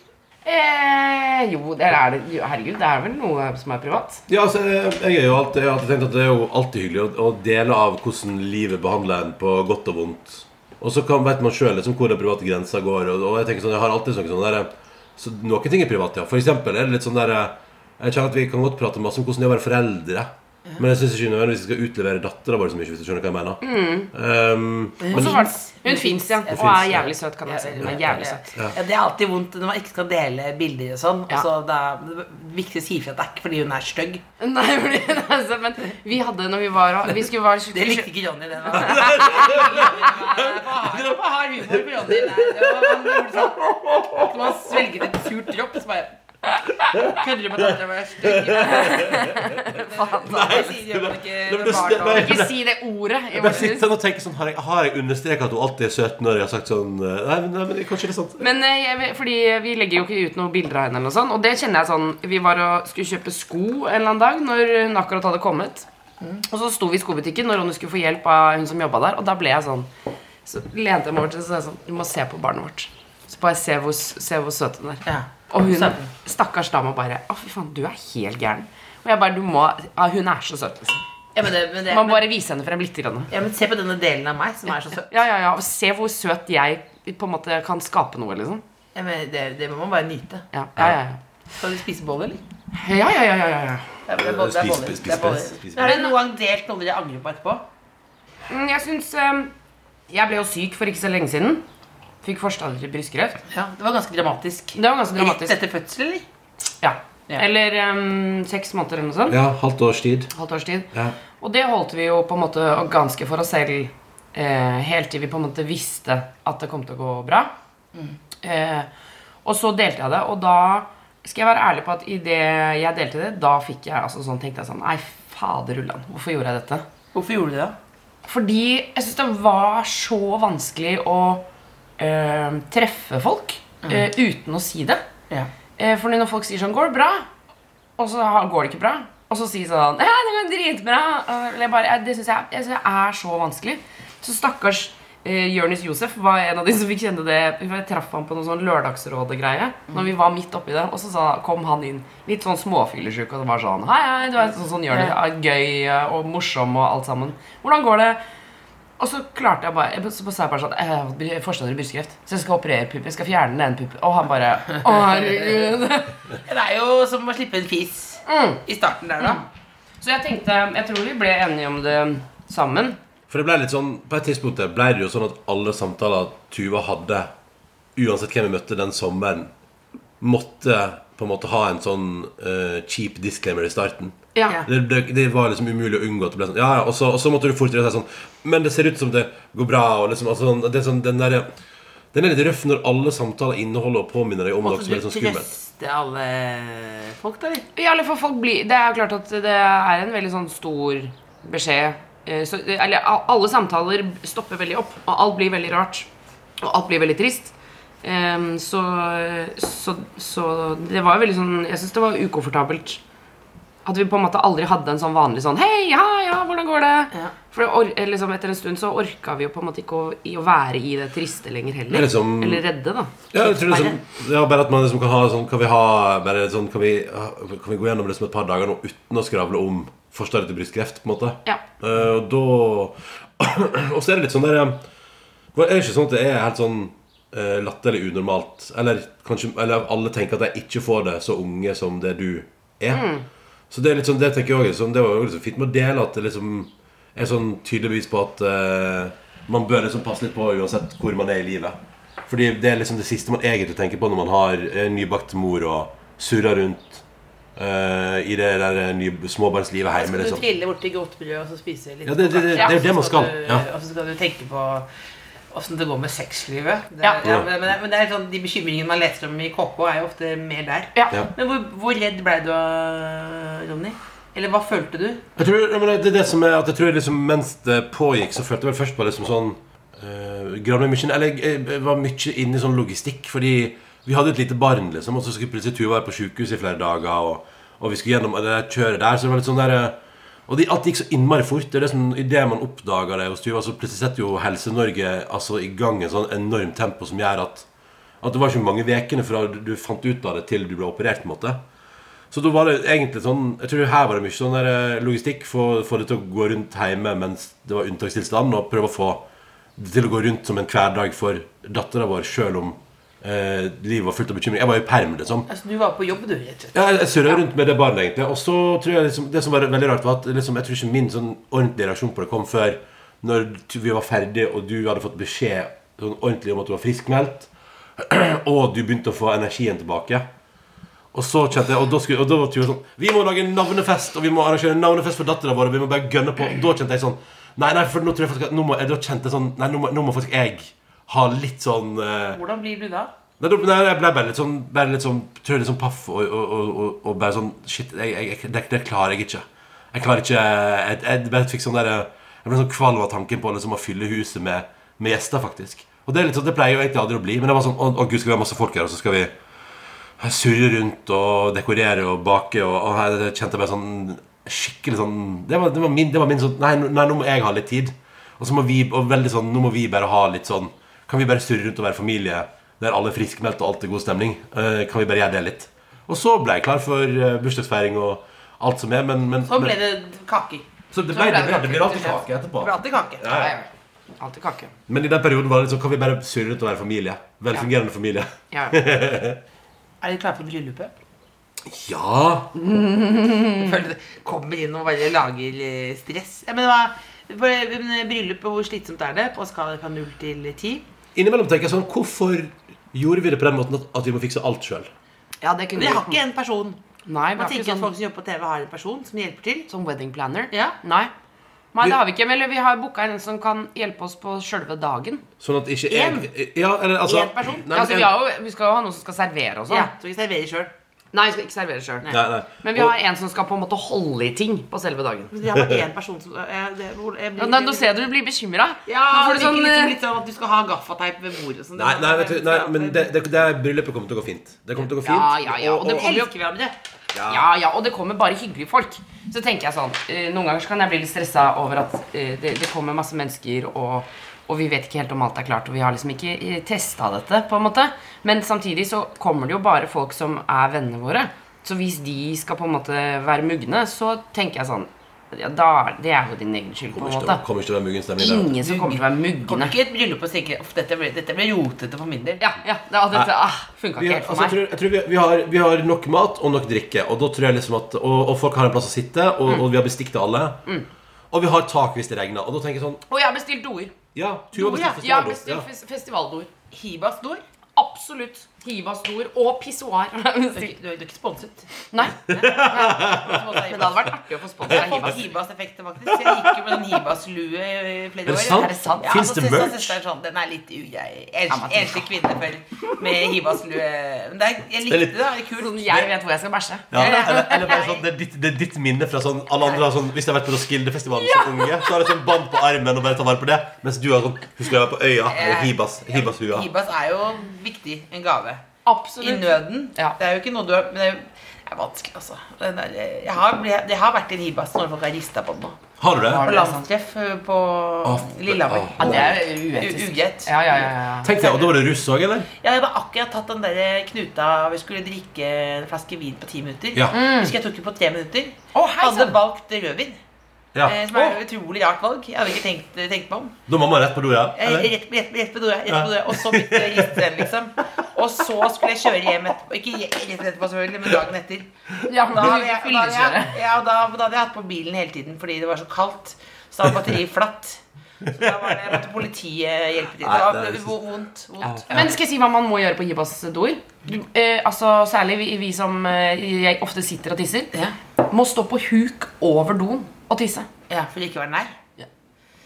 S6: Eh, jo, det er det. jo, Herregud, det er vel noe som er privat.
S5: ja, altså, jeg, er jo alltid, jeg har alltid tenkt at det er jo alltid hyggelig å, å dele av hvordan livet behandler en på godt og vondt. Og så kan, vet man sjøl liksom, hvor den private grensa går. Og, og jeg tenker sånn, jeg har alltid sånn, sånn der, så Noen ting er privat, ja. For eksempel er det litt sånn der Jeg kjenner at vi kan godt prate masse om hvordan det er å være foreldre. Men jeg syns ikke nødvendigvis vi skal utlevere dattera vår så mye, hvis du skjønner hva jeg mener.
S2: Mm.
S5: Um,
S6: Og så
S5: men,
S6: var det Hun fins, ja. Og er
S5: ja.
S6: jævlig søt, kan jeg si. Hun er jævlig søt.
S5: Ja.
S2: Ja, det er alltid vondt når man ikke skal dele bilder og sånn.
S6: Ja.
S2: Altså, det er viktig å si ifra at det er ikke fordi hun er stygg.
S6: Nei, fordi, altså, men vi hadde når vi var Vi skulle være
S2: Det likte ikke Johnny, det. da. Det var for hard humor for Johnny. der. Det var- han gjorde sånn- Når man svelget et surt dropp, så bare Kødder du med at dattera mi er stygg? Nei, sier Johnny
S5: Nei, men
S2: ikke
S5: du-
S2: barn nå.
S5: nei.
S6: Ikke si det ordet. i
S5: jeg
S6: vårt
S5: sitter
S6: hus.
S5: sånn og tenker sånn, har jeg, har jeg understreket at hun alltid er 17 når jeg har sagt sånn eh, Nei, men, nei, men kanskje det er sant.
S6: Men eh, jeg, vet- fordi vi legger jo ikke ut noen bilder av henne, eller noe sånt, og det kjenner jeg sånn Vi var og skulle kjøpe sko en eller annen dag når hun akkurat hadde kommet. Og så sto vi i skobutikken når Ronny skulle få hjelp av hun som jobba der, og da ble jeg sånn Så lente jeg meg over til henne og sa jeg sånn Du må se på barnet vårt. Så bare se hvor, s- se hvor søt hun er.
S2: Ja.
S6: Og hun
S2: Søt.
S6: stakkars dama bare Å, fy faen, du er helt gæren. Og jeg bare Du må ja, Hun er så søt, liksom.
S2: Ja, men det- men det-
S6: Man må bare vise henne frem litt. Grann.
S2: Ja, men se på denne delen av meg som er så søt.
S6: Ja, ja, ja. Og se hvor søt jeg på en måte kan skape noe, liksom.
S2: Ja, men det, det må man bare nyte.
S6: Ja, ja, ja. ja.
S2: Skal du spise boller, eller?
S6: Ja, ja, ja, ja, ja.
S2: Ja, det er boller, det er
S5: Spis-
S2: boller,
S5: spis-
S2: det er boller.
S5: spis- spis-
S2: Har du noen gang delt noe dere angrer på etterpå?
S6: Mm, Jeg syns ehm, Jeg ble jo syk for ikke så lenge siden. Fikk forstadier til brystkreft.
S2: Ja, Det var ganske dramatisk.
S6: Det var ganske
S2: Rett
S6: dramatisk.
S2: etter fødsel, eller?
S6: Ja.
S2: Ja.
S6: Eller ehm, seks måneder eller noe sånt.
S5: Ja, halvt års tid.
S6: Halvt års tid.
S5: Ja.
S6: Og det holdt vi jo på en måte ganske for oss selv eh, helt til vi på en måte visste at det kom til å gå bra. Eh, og så delte jeg det, og da skal jeg være ærlig på at idet jeg delte det, da fikk jeg altså sånn, tenkte jeg sånn Nei, fader ullan, hvorfor gjorde jeg dette?
S2: Hvorfor gjorde du det? da?
S6: Fordi jeg syns det var så vanskelig å eh, treffe folk eh, uten å si det.
S2: Ja.
S6: Eh, fordi når folk sier sånn 'Går det bra?' Og så har- går det ikke bra. Og så sier sånn 'Ja, det går dritbra.' Eh, Eller jeg bare, jeg, det syns jeg, jeg synes det er så vanskelig. Så stakkars eh, Jonis Josef var en av de som fikk kjenne det. for Jeg traff han på noen sånn lørdagsrådegreie Når vi var midt oppi det. Og så sa, kom han inn litt sånn småfyllesjuk og det var sånn 'Hei, hei, du er sånn, sånn Jonis. er Gøy eh, og morsom og alt sammen. Hvordan går det?' Og så klarte jeg bare jeg- Så sa jeg bare sånn Jeg har fått forstander i brystkreft, så jeg skal operere pupp. Jeg skal fjerne den puppen. Og han bare Å, herregud.
S2: Det er jo som å slippe en fis
S6: Mm.
S2: i starten der, da.
S6: Så jeg tenkte, jeg tror vi ble enige om det sammen.
S5: For det ble litt sånn, På et tidspunkt der ble det jo sånn at alle samtaler Tuva hadde, uansett hvem vi møtte den sommeren, måtte på en måte ha en sånn eh, cheap disclaimer i starten.
S6: Ja.
S5: Det, det, det var liksom umulig å unngå at det ble sånn. Ja, ja, Og så, og så måtte du fortere si sånn Men det ser ut som det går bra. Og liksom, altså, sånn- det er sånn, den, der, den er litt røff når alle samtaler inneholder og påminner deg om noe
S2: Måtte
S5: som
S2: du
S5: er litt sånn skummelt.
S2: trøste alle folk, da? eller?
S6: I alle fall folk blir, det er jo klart at det er en veldig sånn stor beskjed. Eh, Så, eller, a- alle samtaler stopper veldig opp, og alt blir veldig rart. Og alt blir veldig trist. Em, så, så, så det var jo veldig sånn Jeg syns det var ukomfortabelt. At vi på en måte aldri hadde en sånn vanlig sånn Hei, ja, ja, hvordan går det?
S2: Ja.
S6: For det or eh, liksom, etter en stund så orka vi jo på en måte ikke å, i å være i det triste lenger
S5: Det
S6: heller.
S5: er liksom-
S6: Eller redde, da.
S5: Ja, jeg tror det er sånn, ja, bare at man liksom kan ha sånn Kan vi ha bare sånn Kan vi, ha- kan vi gå gjennom det som et par dager nå uten å skravle om forstadiet til brystkreft, på en måte?
S6: Ja.
S5: Eh, og da Og så er det litt sånn der eh, Er det ikke sånn at det er helt sånn uh, latterlig unormalt? Eller kanskje Eller alle tenker at de ikke får det så unge som det du er? Så det er litt sånn Det tenker jeg også, er sånn, Det var jo liksom fint med å dele at det liksom er sånn tydelig bevis på at eh, man bør liksom passe litt på uansett hvor man er i livet. Fordi det er liksom det siste man egentlig tenker på når man har eh, nybakt mor og surrer rundt eh, i det der eh, ny, småbarnslivet hjemme.
S2: Skal Altså, du
S5: Liksom.
S2: trille borti godtebrød og så spise litt
S5: Ja, det- det- det- det er jo det man skal,
S2: du-
S5: ja.
S2: Og så skal du tenke på åssen det går med sexlivet. Det,
S6: Ja.
S2: ja. men, men, det- men det er sånn, de bekymringene man leser om i KK, er jo ofte mer der.
S6: Ja.
S5: Ja.
S2: Men hvor, hvor redd ble du, av, Ronny? Eller hva følte du?
S5: Jeg tror, ja, men det er det som er at jeg tror liksom mens det pågikk, så følte jeg vel først på liksom sånn eh, grann meg mye, Eller jeg, jeg var mye inne i sånn logistikk, fordi vi hadde et lite barn, liksom, og så skulle plutselig Tuva være på sjukehus i flere dager, og, og vi skulle gjennom det der kjøret der, så det var litt sånn der eh, og det, alt gikk så innmari fort. Det er det som, I det man oppdager det hos Tuva, så plutselig setter jo Helse-Norge altså, i gang et sånn enormt tempo som gjør at At det var ikke mange ukene fra du, du fant ut av det til du ble operert. på en måte så da var det egentlig sånn Jeg tror her var det mye sånn der eh, logistikk Få, få det til å gå rundt hjemme mens det var unntakstilstand Og prøve å få det til å gå rundt som en hverdag for datteren vår Selv om eh, eh, livet var fullt av bekymring. Jeg var jo i perm, liksom.
S2: Altså, du var på jobb, du, rett og slett.
S5: Ja, jeg surra rundt med det barnet, egentlig. Og så tror jeg liksom, Det som var veldig rart, var at liksom, jeg tror ikke min sånn ordentlige reaksjon på det kom før når du- vi var ferdig, og du hadde fått beskjed sånn ordentlig om at du var friskmeldt, og du begynte å få energien tilbake. Og så kjente jeg, og da, skulle, og da var Tuva sånn Vi må lage navnefest, og vi må arrangere navnefest for dattera vår. Og vi må bare gønne på. Og da kjente jeg sånn Nei, nei, for nå tror jeg faktisk at Nå må, da kjente jeg sånn, nei, nå må, nå må faktisk jeg ha litt sånn eh,
S2: Hvordan blir du da?
S5: Nei, da- nei, jeg ble bare litt sånn, bare litt sånn Tror jeg litt sånn paff og, og, og, og, og bare sånn Shit, jeg, jeg, jeg, det, det klarer jeg ikke. Jeg klarer ikke Jeg, jeg bare fikk sånn der Jeg ble sånn kvalm av tanken på liksom, å fylle huset med, med gjester, faktisk. Og det, er litt sånn, det pleier jo egentlig aldri å bli. Men det var sånn Å, å gud, skal vi ha masse folk her, og så skal vi surre rundt og dekorere og bake og, og her kjente jeg meg sånn skikkelig sånn Det var, det var, min, det var min sånn nei, nå- nei, nå må jeg ha litt tid. Og så må vi og veldig sånn Nå må vi bare ha litt sånn Kan vi bare surre rundt og være familie der alle er friskmeldte og alt er god stemning? Eh, kan vi bare gjøre det litt? Og så ble jeg klar for eh, bursdagsfeiring og alt som er, men, men
S2: Så Sånn ble
S5: men-
S2: det kaker.
S5: så
S2: så
S5: det, ble,
S2: ble
S5: det,
S2: det
S5: ble, det blir
S2: kake,
S5: alltid
S2: rett og
S5: kake etterpå.
S2: Det ble alltid kake.
S5: Ja, ja.
S6: Alltid kake.
S5: Men i den perioden var det liksom Kan vi bare surre rundt og være familie? Velfungerende familie.
S6: Ja.
S2: Er dere klare for bryllupet?
S5: Ja!
S2: Jeg føler det kommer inn og bare lager eh, stress. Ja, men hva, for, eh, men bryllupet, hvor slitsomt er det? På skala fra null til ti?
S5: Innimellom tenker jeg sånn Hvorfor gjorde vi det på den måten at, at vi må fikse alt sjøl?
S6: ja, det kunne
S2: Men jeg har
S6: vi
S2: ikke en person.
S6: Nei, vi
S2: Man
S6: har
S2: tenker
S6: ikke
S2: at folk
S6: sånn,
S2: som jobber på TV, har en person som hjelper til.
S6: sånn wedding planner.
S2: Ja.
S6: Nei. Nei,
S5: Vi-
S6: det har vi ikke. Men vi har booka en som kan hjelpe oss på sjølve dagen.
S5: Sånn at ikke jeg ja, eller, altså,
S2: En person?
S5: Nei,
S6: altså,
S5: men
S6: vi,
S5: en,
S6: har jo, vi skal jo ha noen som skal servere og sånn.
S2: Ja, så vi serverer sjøl.
S6: Nei, vi skal ikke servere sjøl.
S5: nei, nei.
S6: Men vi har en som skal på en måte holde i ting på selve dagen.
S2: Men jeg har en person som eh, det, hvor, jeg
S6: Ja,
S2: blir,
S6: nei, nå ser jeg du du blir bekymra.
S2: Ja,
S6: Nå får
S2: det
S6: du sånn,
S2: virker liksom
S6: eh,
S2: litt sånn at du skal ha gaffateip ved bordet. og sånn.
S5: Nei, nei, vet du, nei, men det, det, det er bryllupet kommer til å gå fint. Det kommer til å gå fint.
S6: Ja, ja, ja, og det
S2: Vi
S6: kommer jo
S2: elsker hverandre.
S6: Ja, ja, og det kommer bare hyggelige folk. Så tenker jeg sånn, eh, Noen ganger så kan jeg bli litt stressa over at eh, det, det kommer masse mennesker, og, og vi vet ikke helt om alt er klart, og vi har liksom ikke eh, testa dette, på en måte. Men samtidig så kommer det jo bare folk som er vennene våre. Så hvis de skal på en måte være mugne, så tenker jeg sånn ja, da, er- Det er jo din egen skyld, på en
S5: Kommer ikke
S6: måte.
S5: til å- kommer ikke til å være muggen stemning der.
S6: Ingen som kommer til å være
S2: Kommer
S6: mugne.
S2: ikke i et bryllup og tenker at dette ble, dette ble rotete for min del.
S6: Ja, ja, det, ah, dette ah, funka
S5: Vi
S6: ikke
S5: har,
S6: helt for
S5: altså, jeg
S6: meg.
S5: tror, jeg tror vi, vi, har, vi har nok mat og nok drikke, og, da tror jeg liksom at, og, og folk har en plass å sitte, og,
S6: Mm.
S5: og vi har bestikk til alle. Og vi har tak hvis det regner. Og da tenker jeg sånn
S6: Og jeg har bestilt doer.
S5: Ja, Tuva
S2: Jo, ja,
S5: bestilte
S6: Jeg har
S5: festivalbord.
S6: bestilt
S5: Ja.
S6: fes festivaldoer.
S2: Hibas Nord.
S6: Absolutt. Hiva-stor og pissoar.
S2: Du er
S6: Nei.
S2: ikke- du er ikke sponset.
S6: Men det hadde vært artig å få sponsa
S2: Jeg har fått
S6: Hivas.
S2: Hibas-effekter, faktisk. Jeg gikk jo med den Hibas-lue i flere
S5: Er
S2: år.
S5: det sant?
S6: Er det sant?
S2: Ja,
S5: Fins
S2: så
S5: det
S2: synes jeg
S5: merch?
S2: søsteren Sånn, den er litt
S6: Ja,
S2: ugrei.
S6: men
S2: Enslig enslig kvinne føler med Hibas-lue. Men det er, jeg likte
S5: litt-
S2: det. da, det er
S6: Sånn,
S2: kult.
S6: jeg vet hvor jeg skal bæsje.
S5: Ja, eller, eller bare sånn, det, er ditt, det er ditt minne fra sånn alle andre har sånn, Hvis de har vært på Roskilde-festivalen som unge, så har de sånn bånd på armen og bare tar vare på det. Mens du har sånn Husker jeg var på Øya. Eller Hibas, Hibashua.
S2: Hibas er jo viktig. En gave. I
S6: Absolutt.
S2: nøden.
S6: Ja.
S2: Det er jo ikke noe du har Men det er- det er vanskelig, altså. Den der, jeg, har, blitt- jeg har vært i en Hibas når folk har rista på den. nå.
S5: Har du det?
S2: På
S6: det sant?
S2: landstreff eh, på Lillehammer.
S5: åh.
S6: Ja, det er
S2: U-
S6: uetisk.
S2: Ugreit.
S6: Ja, ja, ja, ja.
S5: Tenk deg, og da var det russ òg, eller?
S2: Jeg hadde akkurat tatt den der knuta Vi skulle drikke en flaske vin på ti minutter.
S5: Ja.
S2: Husker jeg tok den på tre minutter.
S6: Å, hei,
S2: hadde
S6: sann.
S2: valgt rødvin.
S5: Ja.
S2: eh, Som er et utrolig rart valg. Jeg hadde ikke tenkt, tenkt meg om.
S5: Da mamma rett på do, ja?
S2: Eh,
S5: Eller?
S2: Rett, rett, rett på do, ja, rett på do, ja. Og så begynte jeg å riste den, liksom. Og så skulle jeg kjøre hjem etterpå. Ikke je- rett etterpå, selvfølgelig, men dagen etter.
S6: ja
S2: Da hadde jeg, da hadde jeg,
S6: Fyllekjøre.
S2: ja, da, da hadde jeg hatt på bilen hele tiden fordi det var så kaldt. Så da var batteriet flatt. Så da var det, måtte politiet hjelpe til.
S5: Nei,
S2: Det
S5: det
S2: var vo-
S5: er-
S2: vondt. vondt.
S6: Men skal jeg si hva man må gjøre på Hibas-doer? Du, Eh, altså, særlig vi, vi som eh, jeg ofte sitter og tisser,
S2: Ja.
S6: må stå på huk over doen og tisse.
S2: Ja, for ikke å være nær.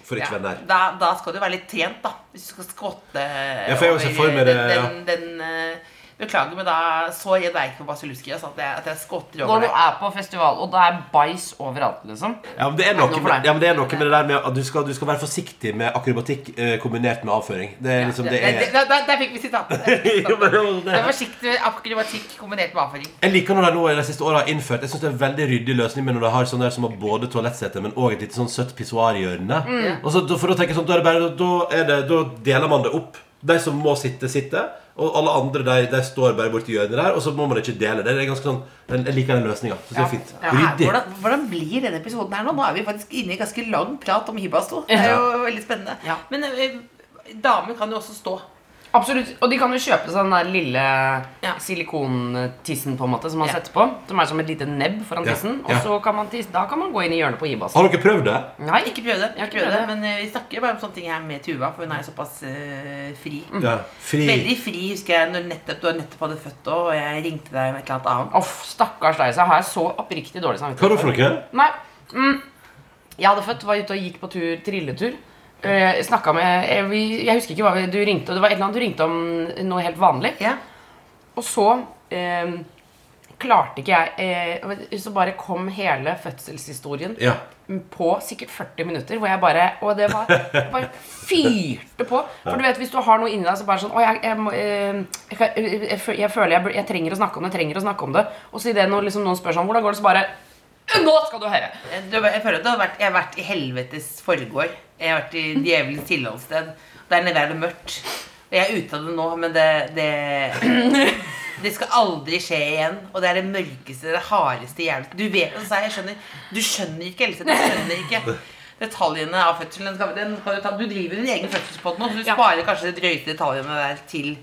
S5: For ikke å være
S2: Ja.
S5: nær.
S2: Da, da skal du være litt trent, da. Hvis du skal skvotte ja,
S5: for jeg ser for meg det,
S2: den, den, eh, Beklager, men da så redd er jeg ikke for Basiluski altså, at, jeg, at jeg skvotter
S6: Når
S2: over
S6: du
S2: det.
S6: er på festival, og det er bæsj overalt, liksom.
S5: Ja, men det er noe med, ja, men det, er noe med det der med at du skal, du skal være forsiktig med akrobatikk eh, kombinert med avføring. Det er liksom det
S2: Der,
S5: er
S2: der, der, der fikk vi sitatet. Der fikk vi
S5: Jo,
S2: sitatet.
S5: men det var
S2: Vær
S5: det.
S2: forsiktig med akrobatikk kombinert med avføring.
S5: Jeg liker når de nå i de siste årene har innført Jeg synes det er en veldig ryddig løsning med når de har sånn der som har både toalettsete, men også et lite sånn søtt pissoarhjørne.
S2: Mm.
S5: Og så da- for å tenke sånn, da er det bare Da, er det, da deler man det opp. De som må sitte, sitter. Og alle andre de, de står bare borti hjørnet der, og så må man ikke dele. Det er ganske sånn Jeg jeg liker den løsninga. Det er fint.
S2: Ja, her,
S5: Ryddig.
S2: hvordan, hvordan blir denne episoden her nå? Nå er vi faktisk inne i ganske lang prat om Hibas. nå. Det er jo veldig spennende.
S6: Ja.
S2: Men eh, damer kan jo også stå.
S6: Absolutt. Og de kan jo kjøpe seg den der lille silikontissen på en måte som man setter på. Som er som et lite nebb foran
S5: Ja.
S6: tissen.
S5: Ja.
S6: Og så kan man tisse, da kan man gå inn i hjørnet på Ibas.
S5: Har dere prøvd det?
S6: Nei,
S2: Ikke prøv det.
S6: Jeg har ikke
S2: Prøv
S6: prøvd
S2: det.
S6: det.
S2: Men eh, vi snakker bare om sånne ting her med Tuva, for hun er jo såpass eh, fri.
S5: Ja. Fri.
S2: Veldig fri, husker jeg, når nettopp, du nettopp hadde født òg, og jeg ringte deg om et eller annet annet.
S6: Uff, stakkars deg. Så har jeg så oppriktig dårlig
S5: Hva er det
S6: samvittighet.
S5: for noe?
S6: Nei. Mm. Jeg hadde født, var ute og gikk på tur, trilletur. Eh, snakket med eh, vi, Jeg husker ikke hva vi, du ringte og Det var et eller annet du ringte om noe helt vanlig.
S2: Ja.
S6: Og så eh, klarte ikke jeg eh, Så bare kom hele fødselshistorien
S5: Ja.
S6: på sikkert 40 minutter, hvor jeg bare Og det var jeg bare fyrte på. For du vet, hvis du har noe inni deg så bare sånn Å, jeg, jeg, må, eh, jeg, kan- jeg, jeg, fø- jeg føler jeg, bur- jeg trenger å snakke om det, jeg trenger å snakke om det. Og så idet noen, liksom, noen spør sånn Hvordan går det, så bare Nå skal du høre!
S2: Du, jeg føler at det har vært, jeg har vært i helvetes forgård. Jeg har vært i djevelens tilholdssted. Der nede er det mørkt. Og jeg er ute av det nå, men det, det Det skal aldri skje igjen. Og det er det mørkeste, det hardeste jævlig Du vet altså, jeg skjønner Du skjønner ikke, Else. Du skjønner ikke detaljene av fødselen. Den skal, den skal du, ta, du driver din egen fødselspodd nå, så du sparer kanskje de drøyte detaljene der til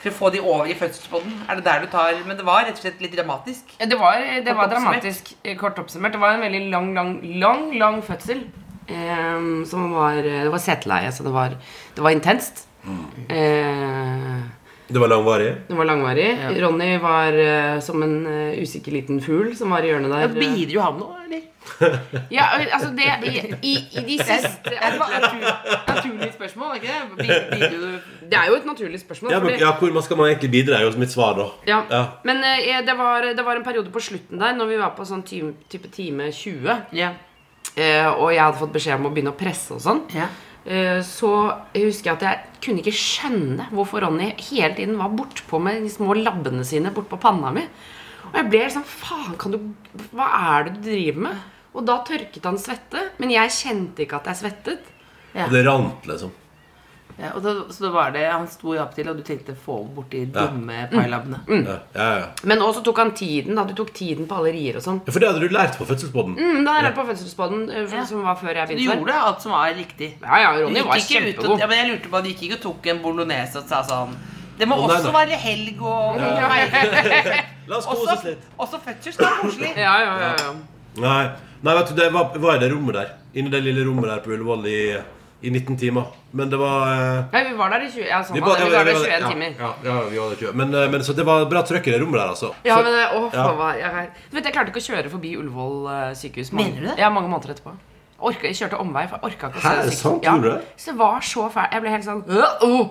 S2: For å få de over i fødselspodden. Er det der du tar Men det var rett og slett litt dramatisk.
S6: Det var, det
S2: Kort
S6: var
S2: oppsummert.
S6: dramatisk, eh, kort oppsummert. Det var en veldig lang, lang, lang lang fødsel. eh, som var eh, Det var seteleie, så det var, det var intenst. Eh,
S5: Det var langvarig?
S6: det var langvarig. Ronny var eh, som en eh, usikker liten fugl som var i hjørnet der.
S2: Bidro han noe, eller?
S6: Ja, altså det i, i, i de siste Det var et natur- naturlig spørsmål, ikke det? Blir- blir du- Det er jo et naturlig spørsmål.
S5: Ja, men,
S6: fordi-
S5: ja, hvor man skal man egentlig bidra, er jo mitt svar, da.
S6: Ja.
S5: Ja.
S6: Men eh, det, var, det var en periode på slutten der, når vi var på sånn time, type time 20,
S2: Ja.
S6: eh, og jeg hadde fått beskjed om å begynne å presse og sånn,
S2: Ja.
S6: eh, så husker jeg at jeg kunne ikke skjønne hvorfor Ronny hele tiden var bortpå med de små labbene sine bortpå panna mi. Og jeg ble sånn Faen, kan du Hva er det du driver med? Og da tørket han svette, men jeg kjente ikke at jeg svettet.
S5: Og det rant, liksom.
S2: Ja, og da, så da var det, Han sto jo opp til, og du tenkte få ham borti de dumme
S6: Mm.
S2: pailabbene.
S5: Ja, ja, ja.
S6: Men også tok han tiden, da. Du tok tiden på alle rier og sånn.
S5: ja for det hadde du lært på fødselsbåten.
S6: Mm, da er jeg på fødselsbaden, eh, for- som var før jeg
S2: Du
S6: begynte.
S2: gjorde alt som var riktig.
S6: Ja, ja,
S2: Du
S6: Ronny
S2: gikk
S6: var
S2: ikke ut
S6: kjempegod.
S2: og, ja, men jeg lurte på, du gikk ikke og tok en bolognese og sa sånn Det må
S5: Å, nei,
S2: også
S5: nei.
S2: være helg og
S5: La oss kose oss
S2: Også,
S5: litt.
S2: også fødsel skal være koselig.
S6: Ja, ja, ja, ja.
S5: Nei, Nei vet du, det var, var i det rommet der. Inni det lille rommet der på Ullevål i, i 19 timer. Men det var eh,
S6: Nei, vi var der i 20, ja, sånn,
S5: vi
S6: vi
S5: ba-
S6: vi var der i
S5: ja,
S6: 21
S5: ja,
S6: timer.
S5: Ja, ja, vi var der 20. Men, eh, men så det var bra trøkk i det rommet der, altså.
S6: Ja,
S5: Så-
S6: men det- åh,
S5: Ja.
S6: faen, hva- jeg, du vet, jeg klarte ikke å kjøre forbi Ullevål eh, sykehus. mange-
S2: Mener du det?
S6: Ja, mange måneder etterpå. Orka, jeg kjørte omvei, for jeg orka ikke å se
S5: Hæ, er det
S6: sykehuset.
S5: sant?
S6: Ja.
S5: Gjorde du det?
S6: Så det var så fælt. Jeg ble helt sånn øh, åh, åh,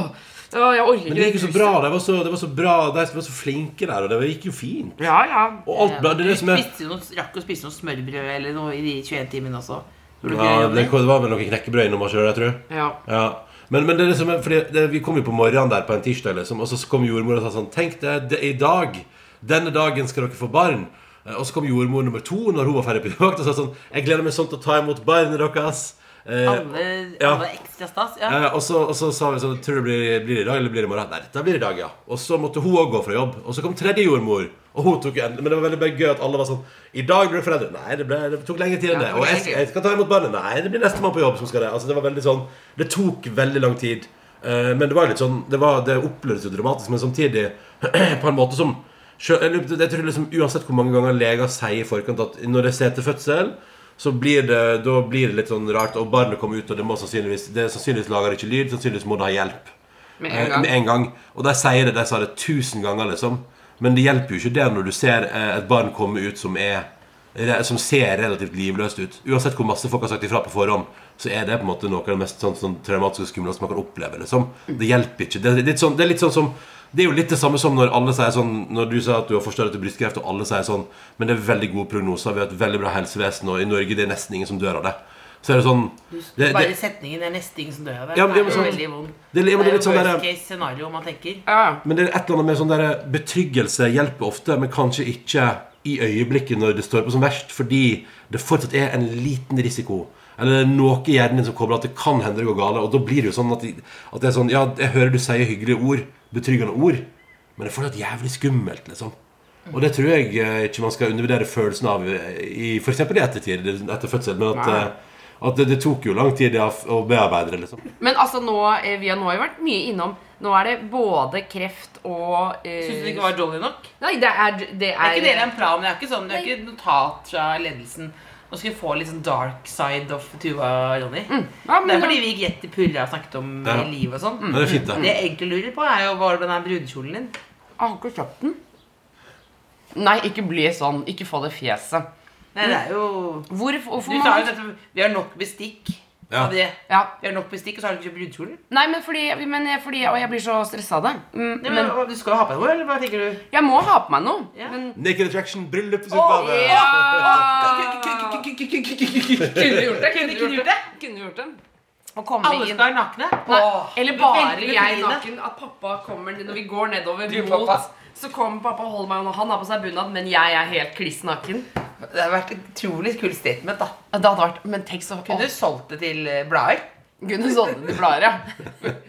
S6: åh, Jeg orker ikke
S5: Men det gikk jo så
S6: huset.
S5: bra. Det var så, det var så bra De var så flinke der, og det gikk jo fint.
S6: Ja, ja.
S5: Og alt ble, det er det som
S2: Du
S5: er
S2: spiste jo noe, rakk å spise noe smørbrød eller noe i de 21 timene også. Tror du ikke
S5: ja,
S2: det,
S5: det,
S2: Jonny?
S5: det var vel noen knekkebrød innom oss, tror jeg.
S6: ja.
S5: Ja. Men, men det er det som er, fordi det, vi kom jo på morgenen der på en tirsdag, liksom, og så kom jordmor og sa sånn Tenk det, det er i dag. Denne dagen skal dere få barn. Eh, Og så kom jordmor nummer to når hun var ferdig på jakt, og sa sånn Jeg gleder meg sånn til å ta imot barnet deres. Eh,
S2: Alle,
S5: Ja.
S2: alle ekstra stas. Ja.
S5: Eh, og, så, og så sa vi sånn Tror du det blir, blir det i dag eller blir det i morgen? Nei, dette blir i dag, ja. Og så måtte hun òg gå fra jobb. Og så kom tredje jordmor. Og hun tok jo en, Men det var veldig bare gøy at alle var sånn I dag blir det foreldre. Nei, det, ble, det tok lengre tid enn det.
S6: det tok
S5: Og jeg,
S6: lengre tid.
S5: skal- jeg skal ta imot barnet. Nei, det blir nestemann på jobb som skal det. Altså, det var veldig sånn Det tok veldig lang tid. Eh, men det var jo litt sånn Det, var, det opplevdes jo dramatisk, men samtidig på en måte som sjø- jeg, lurer på- jeg tror liksom Uansett hvor mange ganger leger sier i forkant at når det ser til fødsel så blir det, da blir det litt sånn rart, og barnet kommer ut, og det må sannsynligvis det sannsynligvis lager ikke lyd, sannsynligvis må det ha hjelp.
S6: Med
S5: Eh,
S6: en gang.
S5: Med en gang. Og de sier det, de sa det tusen ganger, liksom. Men det hjelper jo ikke det når du ser eh, et barn komme ut som er re- som ser relativt livløst ut. Uansett hvor masse folk har sagt ifra på forhånd, så er det på en måte noe av det mest sånn, sånn traumatiske og skumle som man kan oppleve. Liksom. Det hjelper ikke. Det er, litt sånn, det er litt sånn som det er jo litt det samme som når alle sier sånn Når du sier at du har forstørret til brystkreft, og alle sier sånn Men det er veldig gode prognoser, vi har et veldig bra helsevesen, og i Norge det er nesten ingen som dør av det. Så er det sånn det, det,
S2: Bare setningen 'Det er nesten ingen som dør av det'.
S5: Ja, men det
S2: det er
S5: er jo
S2: jo
S5: sånn-
S2: veldig vond.
S5: det, ja, men det er litt sånn
S2: worst
S5: der,
S2: case scenario man tenker.
S6: ja.
S5: Men det er et eller annet med sånn der betryggelse hjelper ofte, men kanskje ikke i øyeblikket når det står på som verst, fordi det fortsatt er en liten risiko. Eller det er noe i hjernen din som kobler at det kan hende det går gale, og da blir det jo sånn at, at det er sånn, ja, jeg hører du sier hyggelige ord, betryggende ord, men det er fortsatt jævlig skummelt, liksom. Og det tror jeg eh, ikke man skal undervurdere følelsen av eh, i f.eks. i ettertid, etter sånn fødsel, men at, eh, At det, det tok jo lang tid ja, f- å bearbeide det, liksom.
S6: Men altså, nå, eh, vi har nå har jo vært mye innom Nå er det både kreft og eh,
S2: Syns du det ikke var jolly nok?
S6: Nei, det er Det
S2: Det er
S6: er,
S2: ikke dere en plan, det er ikke sånn, det er ikke notat fra ledelsen. Nå skal vi få litt sånn dark side of Tuva Ronny.
S6: Ja, men
S2: Mm. det er
S6: nå-
S2: fordi vi gikk rett til purra og snakket om
S5: Ja. Mm.
S2: eh, liv og sånn.
S5: Men det er fint,
S2: Det
S5: det.
S2: jeg egentlig lurer på, er jo hvordan er brudekjolen din?
S6: Jeg har ikke kjøpt den. Nei, ikke bli sånn. Ikke få det fjeset.
S2: Nei, det er jo
S6: Hvor,
S2: Du
S6: hvorfor må
S2: sa jo
S6: man-
S2: dette Vi har nok bestikk.
S5: Ja.
S2: Av det.
S6: Ja.
S2: Vi har nok bestikk, og så har du ikke kjøpt brudekjolen.
S6: Nei, men fordi, men jeg- fordi Og jeg blir så stressa av det. Mm,
S2: Nei,
S6: men
S2: men, du skal jo ha på deg noe, eller hva tenker du?
S6: jeg må ha på meg noe.
S2: Ja.
S6: Men
S5: Naked Attraction, bryllupsutgave.
S6: ja! Kunne gjort det. Kunne
S2: Kunne
S6: gjort det. Kunne gjort det. Å komme
S2: Alle
S6: inn
S2: skal være nakne.
S6: Nei,
S2: Åh,
S6: eller
S2: du
S6: bare
S2: velger
S6: jeg
S2: fine.
S6: naken. At pappa kommer når vi går nedover
S2: Du,
S6: mot
S2: pappa.
S6: Så kommer pappa og holder meg under. Han har på seg bunad, men jeg er helt kliss naken.
S2: Det har vært et utrolig kult statement, da.
S6: Ja, Det hadde vært Men tenk så
S2: Kunne du solgt det til eh, blader?
S6: Kunne sånne til blader, ja.